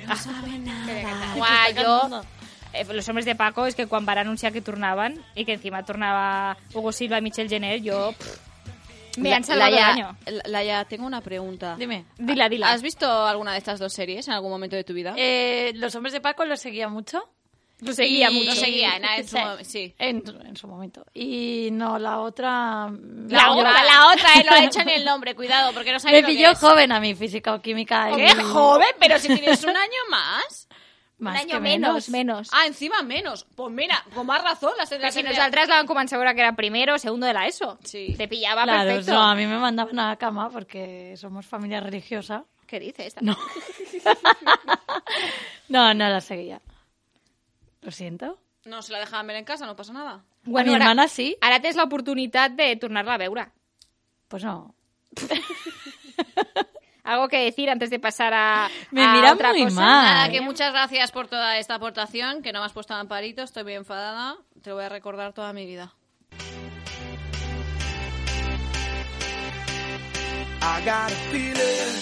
No sabe nada.
Guau, jo... Eh, los hombres de Paco és que quan van anunciar que tornaven i que encima tornava Hugo Silva i Michel Jenner, jo... Pff, me han salvado el año.
Laia, tengo una pregunta.
Dime.
Dila, dila.
¿Has visto alguna de estas dos series en algún momento de tu vida?
Eh, los hombres de Paco los seguía mucho.
Lo seguía
Y-
mucho.
Lo seguía, en- en su mom- sí.
En, en su momento. Y no, la otra... mm,
La, otra, la otra, eh, lo ha hecho en el nombre, cuidado, porque no
Me
sabéis lo que
pilló
es. Oh,
joven a mí, física o química. eh. y-
¡Qué joven! Pero si tienes un año más.
Más
un año
que
menos.
menos.
Ah, encima menos. Pues mira, con más razón las
Però
tendrás
si
en-
nosaltres la vam començar a veure que era primero o segundo de la ESO.
Sí.
Te pillaba
Claro,
perfecto.
no, a mí me mandaban a la cama porque somos familia religiosa.
¿Qué dices?
No. no, no la seguía. Lo siento.
No, se la dejaban ver en casa, no pasa nada.
a mi
ara-
hermana sí.
Ara tens l'oportunitat de tornar-la a veure.
Pues no.
Algo que decir antes de pasar a,
Me
a
miran
otra
muy
cosa?
mal.
Nada, que muchas gracias por toda esta aportación, que no me has puesto amparito, estoy bien enfadada, Te lo voy a recordar toda mi vida.
I got a feeling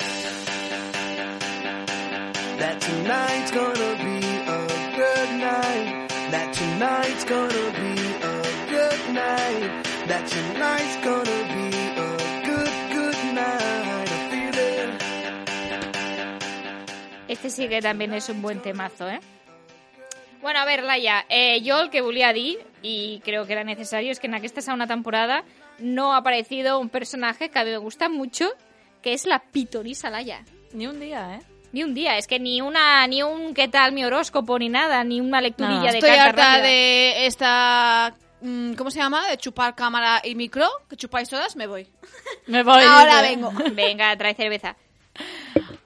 that tonight's gonna be a good night. That tonight's gonna be a good night. That tonight's gonna be a good, good night. A feeling.
Este sí que también es un buen temazo, ¿eh? Bueno, a ver, Laia, eh, jo el que volia dir, i creo que era necesario, es que en aquesta segona temporada no ha aparecido un personaje que a mí me gusta mucho, que es la pitonisa Laia.
Ni un día, ¿eh?
Ni un día, es que ni una, ni un qué tal mi horóscopo, ni nada, ni una lecturilla
No,
de
estoy
carta
harta
rápida.
de esta... mm, ¿Cómo se llama? De chupar cámara y micro. Que chupáis todas, me voy.
Me voy.
Ahora
dice.
vengo.
Venga, trae cerveza.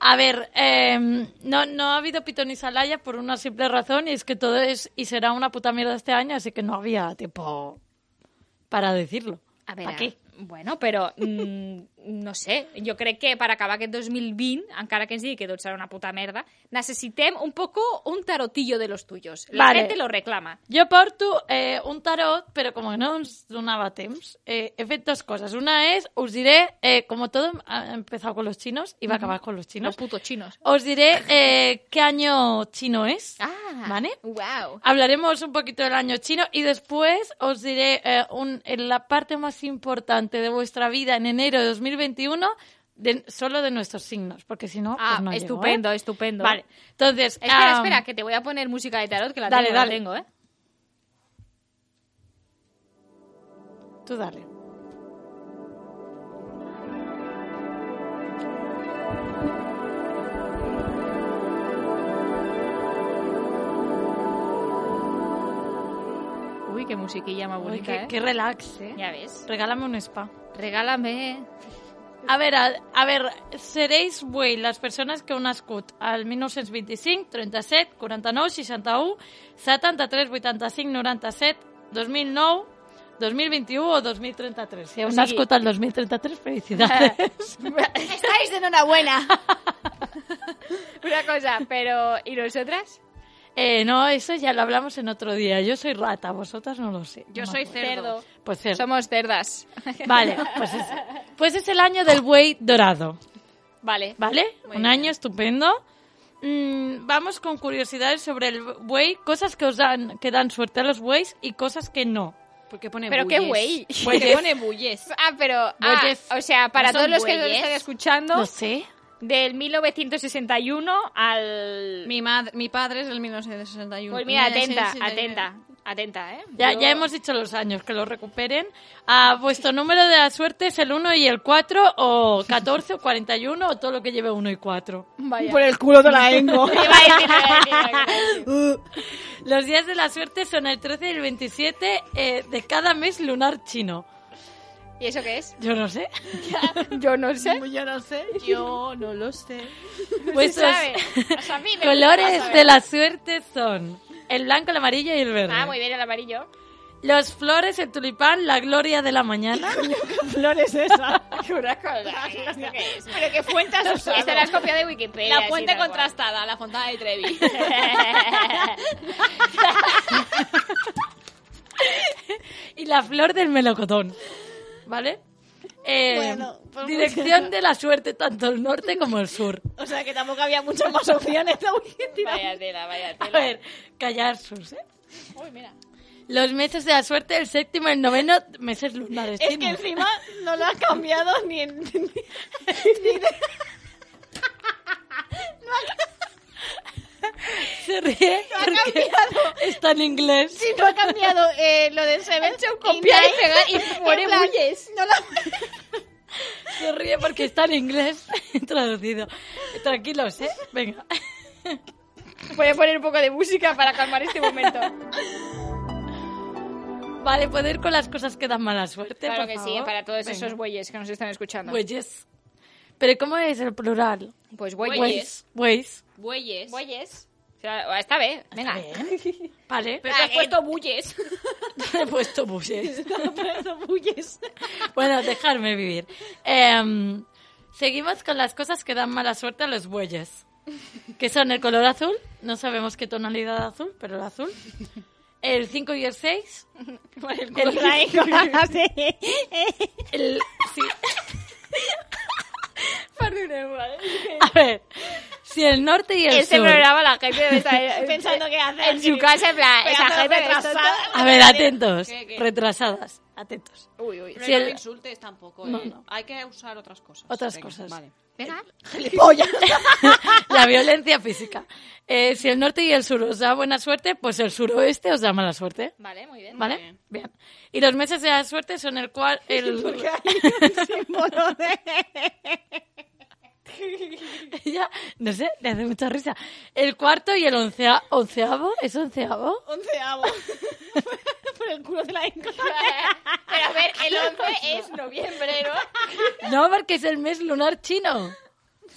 A ver, eh, no, no ha habido Pitón y Salaya por una simple razón, y es que todo es y será una puta mierda este año, así que no había tiempo para decirlo.
A ver,
¿Pa qué?
bueno, però mm, no sé, jo crec que per acabar aquest 2020, encara que ens digui que tot serà una puta merda, necessitem un poco un tarotillo de los tuyos. La
Vale.
gente lo reclama.
Yo porto eh, un tarot, pero como que no us donava temps, eh, he fet dos coses. Una és, us diré, eh, como todo ha empezado con los chinos y va a acabar con los chinos,
Los putos chinos.
os diré eh, qué año chino es,
Ah,
¿vale?
Wow.
Hablaremos un poquito del año chino y después os diré eh, un- en la parte más importante de vuestra vida en enero de 2021, de- solo de nuestros signos, porque si no,
Ah,
pues no llego,
estupendo,
¿eh?
estupendo.
Vale, entonces...
Espera,
ah,
espera, que te voy a poner música de tarot, que la
Dale,
tengo, la
dale.
tengo, ¿eh?
Tú dale.
Uy, qué musiquilla más
Uy,
bonita,
qué-
¿eh?
qué relax, ¿eh?
Ya ves.
Regálame un spa.
Regálame...
A ver, a, a ver, seréis voi les persones que heu nascut al 1925, 37, 49, 61, 73, 85, 97, 2009, 2021 o 2033. Si
O
heu
sigui-
nascut al 2033, felicidades.
Estáis de enhorabuena.
Una cosa, pero... ¿Y nosotras?
Eh, no, eso ya lo hablamos en otro día. Yo soy rata, vosotras no lo sé.
Yo
No me
soy
acuerdo.
cerdo.
Pues cerdo.
Somos cerdas.
Vale, pues es, pues es el año del buey dorado.
Vale.
¿Vale?
Muy
Un
bien.
año estupendo. Mm, vamos con curiosidades sobre el buey, cosas que os dan, que dan suerte a los bueyes y cosas que no.
¿Por qué pone
Pero qué güey.
bulles?
Bueyes.
¿Por qué pone bulles?
Ah, pero... ah,
Bueyes.
o sea, para
¿No son
todos los que nos
bueyes?
están escuchando...
No sé.
Del 1961 al...
Mi, mad- mi padre es del 1961.
Pues mira, atenta,
1961.
atenta, atenta, ¿eh?
Ya,
Yo-
ya hemos dicho los años, que los recuperen. Ah, vuestro número de la suerte es el 1 y el 4, o 14, o 41, o todo lo que lleve 1 y 4.
Vaya.
culo de la engo.
Iba a decir, iba a decir, iba a decir.
Los días de la suerte son el 13 y el 27 eh, de cada mes lunar chino.
¿Y eso qué es?
Yo no sé.
Yo no sé.
Yo no sé.
Yo no lo sé.
Pues
Vuestros colores de la suerte son el blanco, el amarillo y el verde.
Ah, muy bien, el amarillo.
Los flores, el tulipán, la gloria de la mañana. flores esa?
Una cosa, ¿esto qué es? Pero qué fuente has usado. Esta la has copiado de Wikipedia.
La fuente
sí, tal cual.
contrastada, la fontada de Trevi.
y la flor del melocotón. ¿Vale? Eh,
Bueno, pues-
dirección de la suerte, tanto el norte como el sur.
O sea que tampoco había muchas más opciones. ¿no?
Vaya tela, vaya
A
tela.
ver, callar sus, ¿eh?
Uy, mira.
Los meses de la suerte, el séptimo y el noveno, meses lunares.
Es que
chinos.
encima no lo has cambiado ni en... ni- ni de-
Se ríe
No ha
porque
cambiado.
está en inglés.
Sí, no ha cambiado eh, lo de Seven
hecho un copiar y
Nine.
pegar y pone
En plan,
bulles.
No lo-
Se ríe porque está en inglés traducido. Tranquilos, ¿eh? Venga.
Voy a poner un poco de música para calmar este momento.
Vale, puedo ir con las cosas que dan mala suerte.
Claro
por
que sí,
favor?
para todos
Venga.
esos bueyes que nos están escuchando.
Bueyes. Pero ¿cómo es el plural?
Pues bueyes.
Bueyes.
Bueyes.
Bueyes.
Bueyes. O sea, Esta vez, venga.
Vale. Ah, eh,
Pero te has puesto bulles.
He puesto bueyes.
bulles.
Bueno, dejarme vivir. Em, seguimos con las cosas que dan mala suerte a los bueyes. Que son el color azul. No sabemos qué tonalidad azul, pero el azul. el 5 y el 6. el
culo. Sí.
El- sí. Perdoneu, vale. A ver, si el norte y el
Este
sur...
programa la gente debe
eh,
estar pensando qué hacer. En su casa, en plan, esa gente retrasada.
A ver, atentos.
¿Qué, qué?
Retrasadas. Atentos.
Uy, uy.
Si
no
el-
lo insultes tampoco, ¿eh?
No, no.
Hay que usar otras cosas.
Otras
Venga,
cosas.
Vale.
¡Gilipollas! la violencia física. Eh, si el norte y el sur os da buena suerte, pues el suroeste os da mala suerte.
Vale, muy bien.
¿Vale? Bien. Y los meses de la suerte son el cual... El... Ya, no sé, me hace mucha risa. El cuarto y el oncea- onceavo, ¿es onceavo?
Onceavo. Por el culo de la Pero a ver, el 11 es noviembre, ¿no?
No, porque es el mes lunar chino.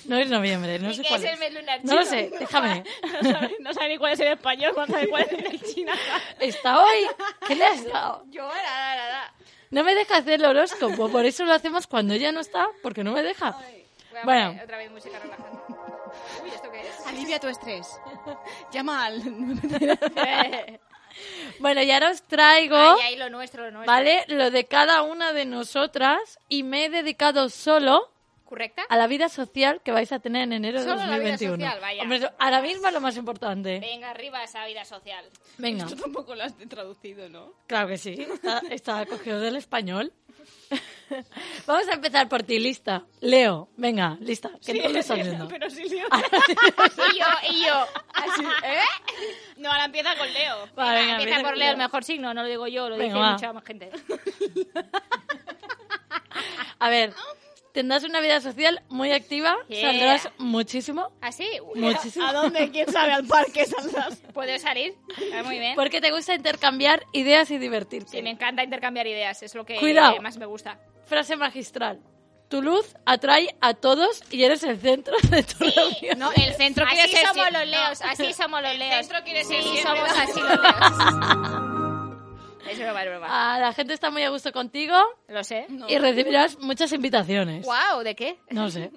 No es noviembre, no sé
¿Qué
cuál
es el mes lunar
No lo
chino?
sé, déjame.
No sabe, no sabe ni cuál es el español, no sabe cuál es el chino.
Está hoy. ¿Qué le has dado?
Yo, nada, nada.
No me deja hacer el horóscopo, por eso lo hacemos cuando ella no está, porque no me deja.
Voy a
Bueno.
poner Otra vez música relajante. Uy, ¿esto qué es? Alivia tu estrés. Llama al...
Bueno, y ahora os traigo,
Ay, ay, lo nuestro, lo nuestro.
¿vale? Lo de cada una de nosotras y me he dedicado solo
¿Correcta?
a la vida social que vais a tener en enero de
Solo la vida
2021.
social, vaya.
Hombre, eso ahora mismo es lo más importante.
Venga, arriba esa vida social.
Venga.
Esto tampoco lo has traducido, ¿no?
Claro que sí, está, está cogido del español. Vamos a empezar por ti, lista. Leo, venga, lista, que no lo estás viendo. Ah.
Pero sí, Leo. y yo, y yo. Así, ¿eh? No, ahora empieza con Leo.
Va, venga,
empieza
empieza
por
con
Leo, el
Leo.
mejor signo, no lo digo yo, lo
Venga,
dice
va.
mucha más gente.
A ver, tendrás una vida social muy activa,
Yeah.
saldrás muchísimo,
¿Así?
Muchísimo.
¿Ah, ¿A dónde? ¿Quién sabe? ¿Al parque saldrás? ¿Puedo salir? Ah, muy bien.
porque te gusta intercambiar ideas y divertirte.
Sí, me encanta intercambiar ideas, es lo que
Cuidado.
eh, más me gusta.
Frase magistral. Tu luz atrae a todos y eres el centro de tu reunión.
No, el centro
Así
quiere ser...
somos
sie-
los leos,
no.
así somos los leos.
El centro quiere ser
Sí,
siempre
somos
los-
así los leos.
Es broma, es broma.
Ah, la gente está muy a gusto contigo
Lo sé.
y recibirás muchas invitaciones.
Wow, ¿de qué?
No sé.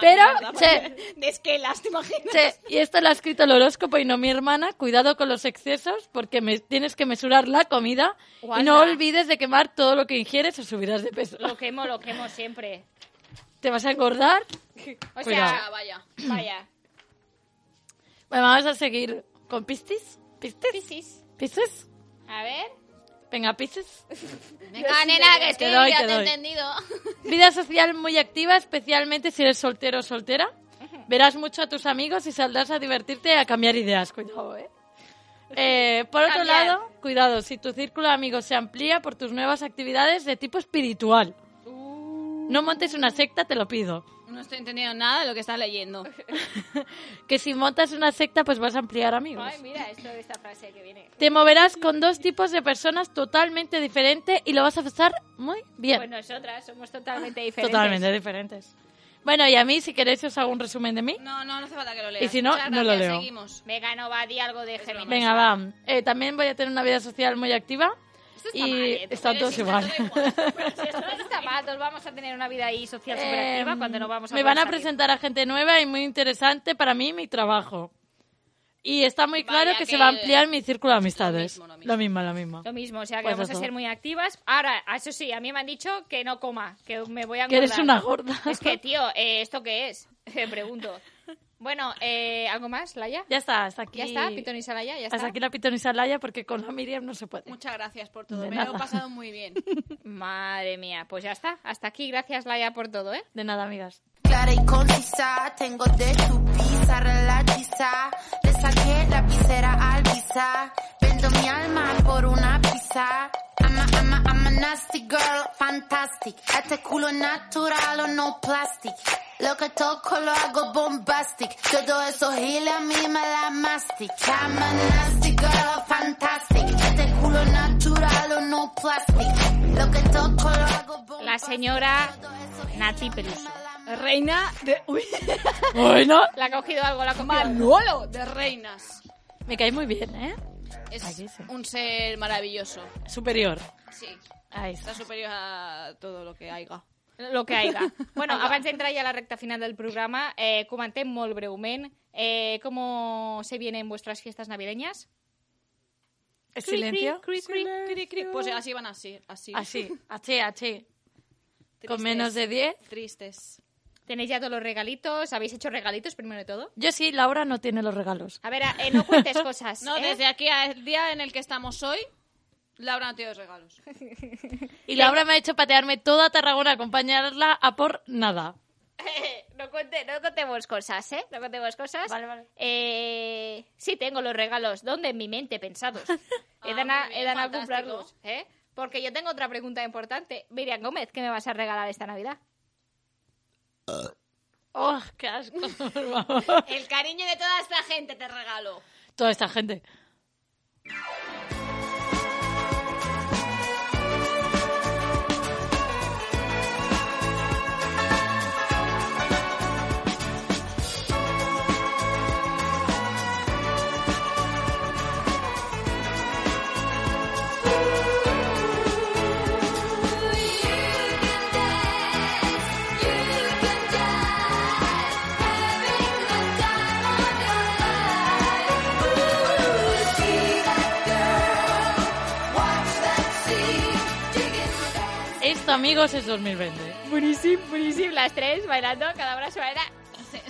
Pero, che,
De esquelas, ¿te imaginas?
che, y esto lo ha escrito el horóscopo y no mi hermana. Cuidado con los excesos porque me, tienes que mesurar la comida y no
Guarda.
olvides de quemar todo lo que ingieres o subirás de peso.
Lo quemo, lo quemo siempre.
Te vas a engordar.
O sea,
Cuidado.
vaya, vaya.
Bueno, vamos a seguir con pistis. ¿Pistis?
Piscis.
¿Pistis?
A ver.
Venga, pistis.
Venga, nena, que
Te
estoy,
doy,
ya
te
te he
doy.
entendido.
Vida social muy activa, especialmente si eres soltero o soltera. Verás mucho a tus amigos y saldrás a divertirte y a cambiar ideas. Cuidado, ¿eh? Eh, por otro
Cambiar.
lado, cuidado, si tu círculo de amigos se amplía por tus nuevas actividades de tipo espiritual.
Uh.
No montes una secta, te lo pido.
No estoy entendiendo nada de lo que estás leyendo.
Que si montas una secta, pues vas a ampliar amigos.
Ay, mira, esto de esta frase que viene.
Te moverás con dos tipos de personas totalmente diferentes y lo vas a pasar muy bien.
Pues nosotras somos totalmente diferentes.
totalmente diferentes. Bueno, y a mí, si queréis, os hago un resumen de mí.
No, no, no hace falta que lo
leas. Y si no, Muchas no lo gracias, leo.
Seguimos. Venga, no va, di algo de Géminis.
Venga, va. Eh, también voy a tener una vida social muy activa.
Esto está
y
mal, ¿eh? Tú
están
eres
todos
hija,
igual.
todo igual. Pero si esto no está mal, todos vamos a tener una vida ahí social superactiva
Em,
cuando no vamos a
me
poder
van a
salir.
presentar a gente nueva y muy interesante para mí mi trabajo. Y está muy claro
Vaya
que, se
que-
va a ampliar mi círculo de amistades. Lo mismo, lo mismo.
Lo mismo, o sea que
Pues
vamos
eso.
a ser muy activas. Ahora, a eso sí, a mí me han dicho que no coma, que me voy a engordar.
Que eres una gorda.
Es que, tío, eh, ¿esto qué es? Te pregunto. Bueno, eh, ¿algo más, Laia?
Ya está, hasta aquí.
Ya está, Pitón y Salaya, ya
hasta
está.
aquí la pitonisalaya porque con la Miriam no se puede.
Muchas gracias por
todo, De me lo he nada. pasado
muy bien. Madre mía, pues ya está. Hasta aquí, gracias Laia por todo, ¿eh?
De nada, amigas.
Clara y concisa, tengo de tu pizarra la tiza. Le saqué la pizera al pizza. Vendo mi alma por una pizza. I'm a, I'm a, I'm a nasty girl, fantastic. Este culo natural o no plastic. Lo que toco lo hago bombastic. Todo eso gila a mí me la mastic. I'm a nasty girl, fantastic. Este culo natural o no plastic. Lo que toco lo hago
La señora Nati Peluso.
Reina de... Uy. Bueno.
La ha cogido algo, la ha cogido algo.
Manolo
de reinas.
Me cae muy bien, ¿eh?
Es
un
ser maravilloso.
Superior.
Sí.
Ahí está.
superior a todo lo que haiga. Lo que haiga. Bueno, abans d'entrar ja a la recta final del programa, eh, comentem molt breument eh, cómo se vienen vuestras fiestas navideñas.
¿Es
Cri, cri,
silencio?
cri, cri, cri, cri. Pues así van así, así.
Así, así, así. Con
Tristes.
menos de 10.
Tristes.
¿Tenéis ya todos los regalitos? ¿Habéis hecho regalitos primero de todo?
Yo sí, Laura no tiene los regalos.
A ver, eh, no cuentes cosas.
No,
¿eh?
desde aquí al día en el que estamos hoy, Laura no tiene los regalos.
Y Laura me ha hecho patearme toda Tarragona, acompañarla a por nada.
no, cuente- no contemos cosas, ¿eh? No contemos cosas. Vale, vale. sí, tengo los regalos. ¿Dónde? En mi mente, pensados. He dado a, he dado a comprarlos, ¿eh? Porque yo tengo otra pregunta importante. Miriam Gómez, ¿qué me vas a regalar esta Navidad?
¡Oh, qué asco!
El cariño de toda esta gente te regalo.
Toda esta gente. Esto, amigos, es 2020.
Buenísimo, buenísimo. Las tres bailando, cada una su manera.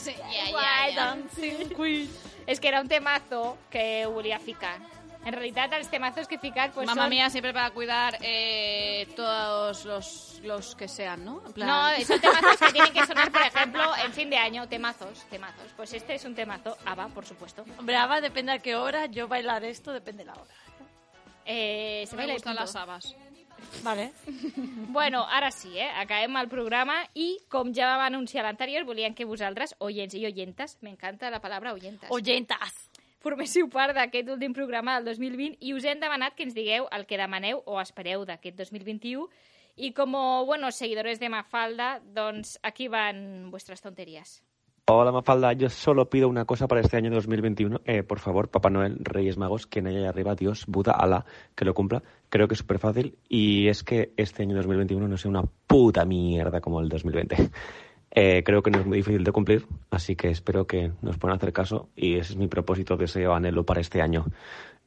ya,
Why
ya.
dancing queen. Es que era un temazo que volía a ficar. En realidad, els temazos que ficar... Pues,
Mamma
son-
mía, siempre para cuidar eh, todos los, los que sean, ¿no? En plan-
No, son temazos que tienen que sonar, por ejemplo, en fin de año. Temazos, temazos. Pues este es un temazo. ABBA, por supuesto.
Hombre, Ava, depende a qué hora. Yo bailar esto depende de la hora.
Eh, se
No me
baila y
gustan
punto.
las habas.
Vale.
Bueno, ara sí, eh? acabem el programa i, com ja vam anunciar a l'anterior, volíem que vosaltres, oients i oyentes, m'encanta la palabra oyentes,
Oyentas.
forméssiu part d'aquest últim programa del 2020 i us hem demanat que ens digueu el que demaneu o espereu d'aquest 2021 i com, bueno, seguidores de Mafalda, doncs aquí van vuestras tonterías.
Hola Mafalda, yo solo pido una cosa para este año 2021. Eh, por favor, Papá Noel, Reyes Magos, quien haya ahí arriba, Dios, Buda, Alá, que lo cumpla. Creo que es súper fácil y es que este año 2021 no sea una puta mierda como el 2020. Eh, creo que no es muy difícil de cumplir, así que espero que nos puedan hacer caso y ese es mi propósito, deseo, anhelo para este año.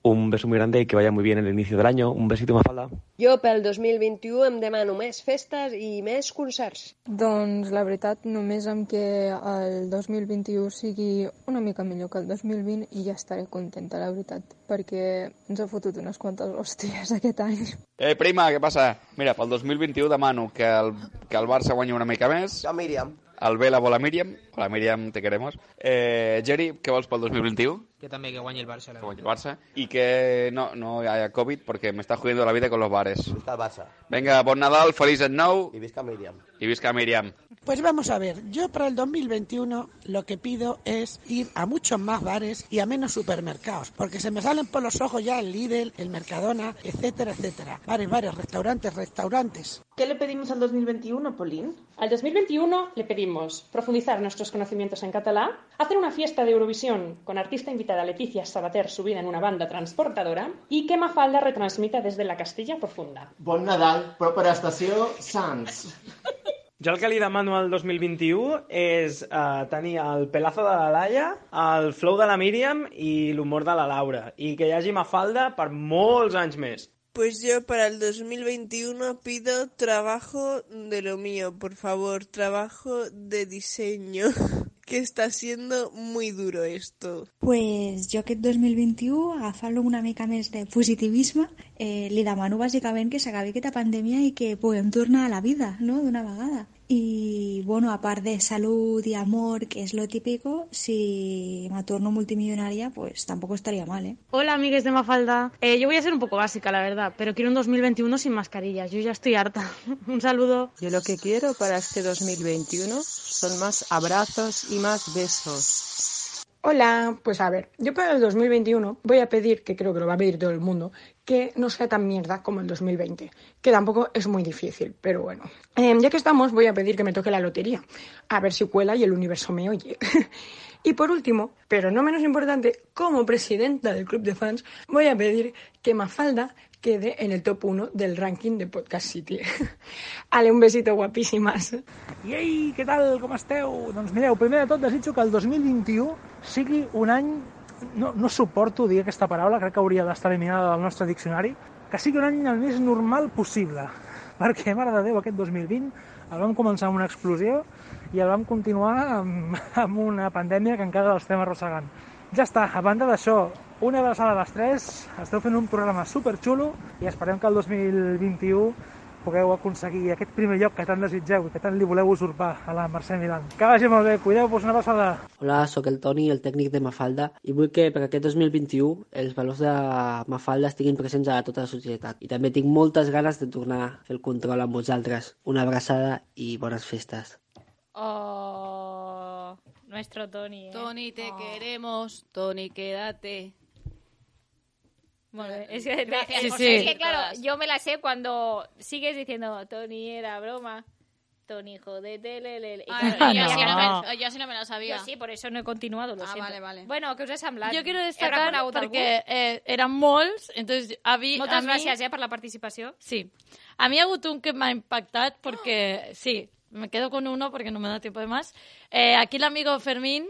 Un beso muy grande y que vaya muy bien el inicio del año. Un besito Mafalda.
Jo pel 2021 em demano més festes i més concerts.
Doncs la veritat, només amb que el 2021 sigui una mica millor que el 2020 i ja estaré contenta, la veritat, perquè ens ha fotut unes quantes hòsties aquest any.
Eh, prima, què passa? Mira, pel 2021 demano que el, que el Barça guanyi una mica més. A Míriam. El Vela vol a Míriam. Hola, Míriam, te queremos. Eh, Geri, què vols pel 2021?
Que també que guanyi el Barça.
Que guanyi el Barça. I que no, no haya Covid porque me está jodiendo la vida con los bares. Visca el Barça. Venga, bon Nadal, feliç any nou. I visca Míriam. I visca Míriam.
Pues vamos a ver, yo para el 2021 lo que pido es ir a muchos más bares y a menos supermercados, porque se me salen por los ojos ya el Lidl, el Mercadona, etcétera, etcétera. Bares, bares, restaurantes, restaurantes.
¿Qué le pedimos al 2021, Pauline? Al 2021 le pedimos profundizar nuestros conocimientos en catalán, hacer una fiesta de Eurovisión con artista invitada Leticia Sabater subida en una banda transportadora y que Mafalda retransmita desde la Castilla Profunda.
Bon Nadal, propera estació, Sants.
Jo el que li demano al 2021 és eh, tenir el pelazo de la Laia, el flow de la Míriam i l'humor de la Laura. I que hi hagi Mafalda per molts anys més.
Pues yo para el 2021 pido trabajo de lo mío, por favor, trabajo de diseño, que está siendo muy duro esto.
Pues jo aquest 2021 agafant-lo amb una mica més de positivisme, eh, li demano bàsicament que s'acabi aquesta pandèmia i que puguem tornar a la vida, no?, d'una vegada. I, bueno, a part de salut i amor, que és lo típico, si me torno multimillonaria, pues tampoco estaría mal, ¿eh?
Hola, amigues de Mafalda. Eh, yo voy a ser un poco básica, la verdad, pero quiero un 2021 sin mascarillas. Yo ya estoy harta. un saludo.
Yo lo que quiero para este 2021 son más abrazos y más besos.
Hola, pues a ver, yo para el 2021 voy a pedir, que creo que lo va a pedir todo el mundo, que no sea tan mierda como el 2020, que tampoco es muy difícil, pero bueno. Em, ya que estamos, voy a pedir que me toque la lotería, a ver si cuela y el universo me oye. y por último, pero no menos importante, como presidenta del club de fans, voy a pedir que Mafalda quede en el top 1 del ranking de Podcast City. Ale, un besito guapísimas.
Iei, què tal? Com esteu? Doncs mireu, primer de tot desitjo que el 2021 sigui un any
no, no suporto dir aquesta paraula, crec que hauria d'estar eliminada del nostre diccionari, que sigui un any el més normal possible, perquè, mare de Déu, aquest 2020 el vam començar amb una explosió i el vam continuar amb, amb una pandèmia que encara l'estem arrossegant. Ja està, a banda d'això, una abraçada a les 3, esteu fent un programa superxulo i esperem que el 2021 pugueu aconseguir aquest primer lloc que tant desitgeu i que tant li voleu usurpar a la Mercè Milan. Que vagi molt bé, cuideu-vos, una abraçada.
Hola, sóc el Toni, el tècnic de Mafalda, i vull que per aquest 2021 els valors de Mafalda estiguin presents a tota la societat. I també tinc moltes ganes de tornar a fer el control amb vosaltres. Una abraçada i bones festes.
Oh, nuestro Tony, eh?
Tony, te queremos. Tony, quédate.
Molt bé. Es que,
Gracias
es
por
que,
seguir
claro,
todas.
yo me la sé cuando sigues diciendo Tony era broma. Tony, jodete, lele. le". Y
Ah,
Ay,
claro,
yo
ya
sí
no
no
me-
me- yo sí no me la sabía.
Yo sí, por eso no he continuado, lo
Ah,
siento.
vale, vale.
Bueno, que us ha semblat?
Jo quiero
Heu
destacar
reconegut algú?
perquè eh, eren molts, entonces a mi...
Moltes
a mi...
gràcies, eh, per la participació.
Sí. A mi hi ha hagut un que m'ha impactat perquè, sí, me quedo con uno porque no me da tiempo de más. Eh, aquí el amigo Fermín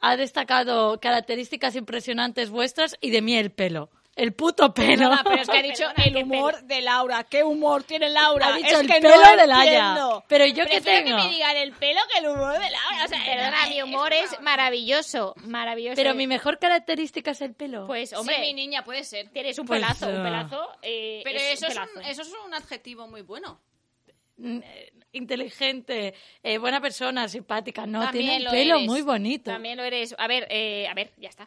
ha destacado características impresionantes vuestras y de mí el pelo. El puto pelo.
Perdona, Ah, pero es que ha dicho el humor de Laura. ¿Qué humor tiene Laura?
Ha dicho
es
el
que
pelo
no
de Laia.
entiendo.
Pero yo qué
Prefiero
tengo.
que me digan el pelo que el humor de Laura. O sea,
Perdona, mi humor es maravilloso, maravilloso.
Pero mi mejor característica es el pelo.
Pues, hombre,
mi niña, puede ser.
Tienes un
Pues,
pelazo, un
eh,
pelazo. eh,
Pero
es
eso,
un
es
pelazo.
un, eso es un adjetivo muy bueno.
Mm, eh, inteligente, eh, buena persona, simpática. No,
También
tiene
lo
un pelo
eres.
muy bonito.
También lo eres. A ver, eh, a ver, ya está.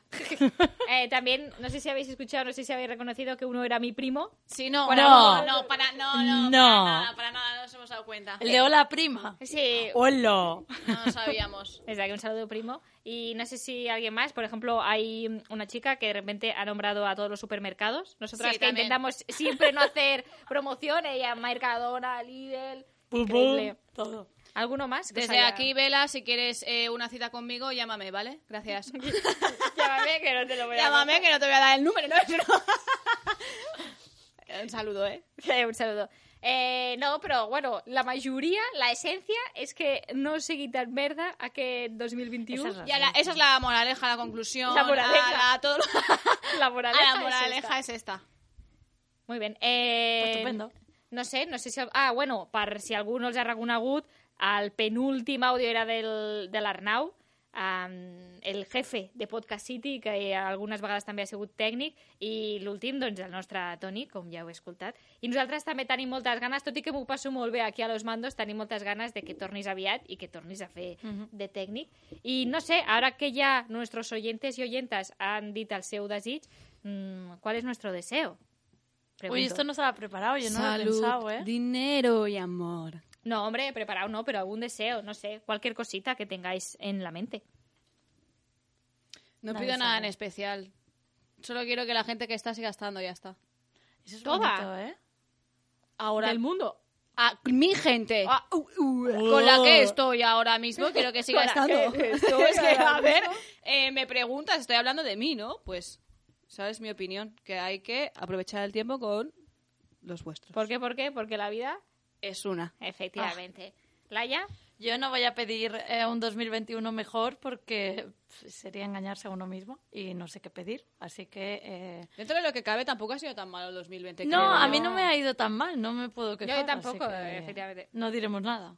Eh, también, no sé si habéis escuchado, no sé si habéis reconocido que uno era mi primo.
Sí, no,
No.
no, no, para, no, no, para
No.
nada, para nada, no nos hemos dado cuenta.
El de hola prima.
Sí.
Hola.
No lo sabíamos.
Desde aquí un saludo, primo. Y no sé si alguien más, por ejemplo, hay una chica que de repente ha nombrado a todos los supermercados. Nosotras
Sí,
que
también.
intentamos siempre no hacer promoción, ella Mercadona, Lidl,
Pum, pum,
increíble.
todo.
¿Alguno más? que os
Desde
haya-
aquí, Vela, si quieres eh, una cita conmigo, llámame, ¿vale? Gracias.
Llámame que no te lo voy a dar.
llámame que no te voy a dar el número, ¿no? Un saludo, ¿eh?
Eh, un saludo. Eh, no, pero bueno, la mayoría, la esencia es que no seguí tan merda a que en 2021
Y a la- esa es la moraleja, la conclusión.
La moraleja.
a la- todo lo-
La
a
moraleja
la moraleja
es
es esta.
Muy bien. Eh,
Pues estupendo.
No sé, no sé si... Ah, bueno, per si algú no els ha reconegut, el penúltim àudio era del, de l'Arnau, um, el jefe de Podcast City, que eh, algunes vegades també ha sigut tècnic, i l'últim, doncs, el nostre Toni, com ja heu escoltat. I nosaltres també tenim moltes ganes, tot i que m'ho passo molt bé aquí a Los Mandos, tenim moltes ganes de que tornis aviat i que tornis a fer
Mhm.
de tècnic. I no sé, ara que ja nuestros oyentes i oyentes han dit el seu desig, mm, ¿cuál es nuestro deseo?
Uy,
Pregunto.
esto no estaba preparado, yo no lo he
Salud,
pensado, ¿eh?
dinero y amor.
No, hombre, preparado no, pero algún deseo, no sé, cualquier cosita que tengáis en la mente.
No
Nadie
pido nada en
sabe.
especial. Solo quiero que la gente que está siga estando, ya está.
Eso es
Toda.
bonito, ¿eh?
Ahora.
Del
mundo.
A mi gente.
Ah,
Con la que estoy ahora mismo, quiero que
Con
siga
la
estando.
que
Esto es que,
ahora
a ver, eh, me preguntas, estoy hablando de mí, ¿no? Pues, ¿sabes mi opinión? Que hay que aprovechar el tiempo con los vuestros.
¿Por qué? ¿Por qué? Porque la vida,
Es una.
efectivamente. Ah. Laia,
Yo no voy a pedir eh, un 2021 mejor porque pf, sería engañarse a uno mismo y no sé qué pedir. Así que. eh,
Dentro de lo que cabe, tampoco ha sido tan malo el 2020.
No,
creo
a
yo.
mí no me ha ido tan mal, no me puedo quejar. así
tampoco,
que
eh, efectivamente.
No diremos nada.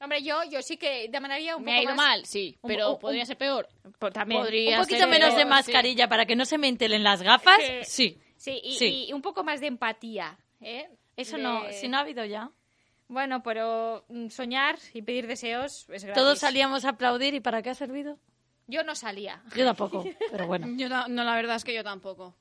hombre, yo, yo sí que demanaría un
Me
poco
ha ido
más-
mal, sí,
un-
pero
un-
podría
un-
ser peor.
Pues también.
Podría
Un poquito
ser
menos de
peor,
mascarilla para que no se me entelen las gafas.
Que-
Sí.
Sí, y,
Sí.
y un poco más de empatía, ¿eh?
Eso
De-
no, si no ha habido ya.
Bueno, pero mm, soñar y pedir deseos es gratis.
Todos salíamos a aplaudir y ¿para qué ha servido?
Yo no salía.
Yo tampoco, pero bueno.
Yo ta- no, la verdad es que yo tampoco.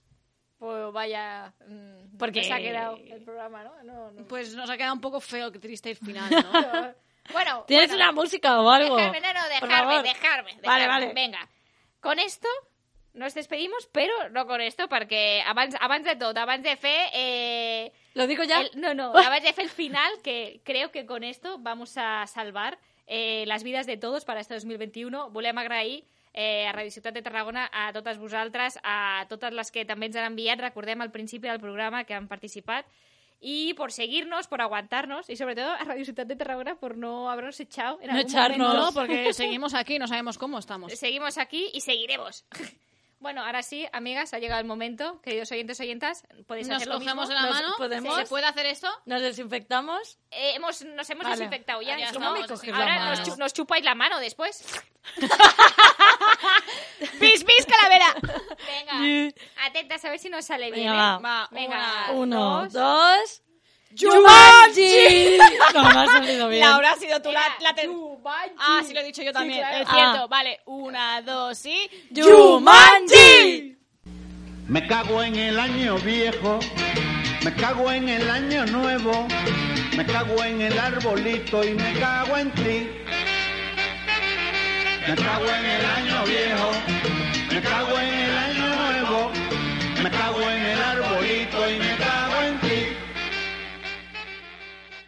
Pues vaya... mm,
Porque-
nos ha quedado el programa, ¿no? No, no.
Pues nos ha quedado un poco feo, que triste el final, ¿no?
Bueno,
¿Tienes
bueno.
una música o algo?
Dejarme, no, no,
Por
dejarme,
favor.
dejarme,
Vale,
dejarme.
vale.
Venga, con esto nos despedimos, pero no con esto, perquè abans, abans de tot, abans de fer... Eh,
¿Lo digo ya?
el- no, no, abans de fer el final, que creo que con esto vamos a salvar eh, las vidas de todos para este 2021. Volem agrair eh, a Radio Ciutat de Tarragona, a totes vosaltres, a totes les que també ens han enviat, recordem al principi del programa que han participat, y por seguirnos, por aguantarnos y sobre todo a Radio Ciutat de Tarragona por no habernos echado en
No
algún
echarnos.
momento.
No, porque seguimos aquí, no sabemos cómo estamos.
Seguimos aquí y seguiremos. Bueno, ahora sí, amigas, ha llegado el momento. Queridos oyentes, oyentas, podéis
Nos
hacer lo
cogemos
mismo.
de la
Nos-
mano,
podemos-
¿se puede hacer
esto?
¿Nos desinfectamos?
Eh, hemos, nos hemos
Vale.
desinfectado ya.
Ya
¿Cómo me coges
estamos, sí.
la Ahora
Vamos.
nos, chu- nos chupáis la mano después.
¡Pis, pis, calavera!
Venga, atentas a ver si nos sale bien.
Venga,
¿eh?
va.
Venga,
Uno,
dos.
dos...
¡Jumanji!
No, me ha salido bien.
Laura ha sido tú la, la ter- Ah, sí, lo he dicho yo también.
claro.
Es cierto.
Ah.
Vale, una, dos y.
¡Jumanji!
Me cago en el año viejo, me cago en el año nuevo, me cago en el arbolito y me cago en ti. Me cago en el año viejo, me cago en el año nuevo, me cago en el arbolito y me cago en ti.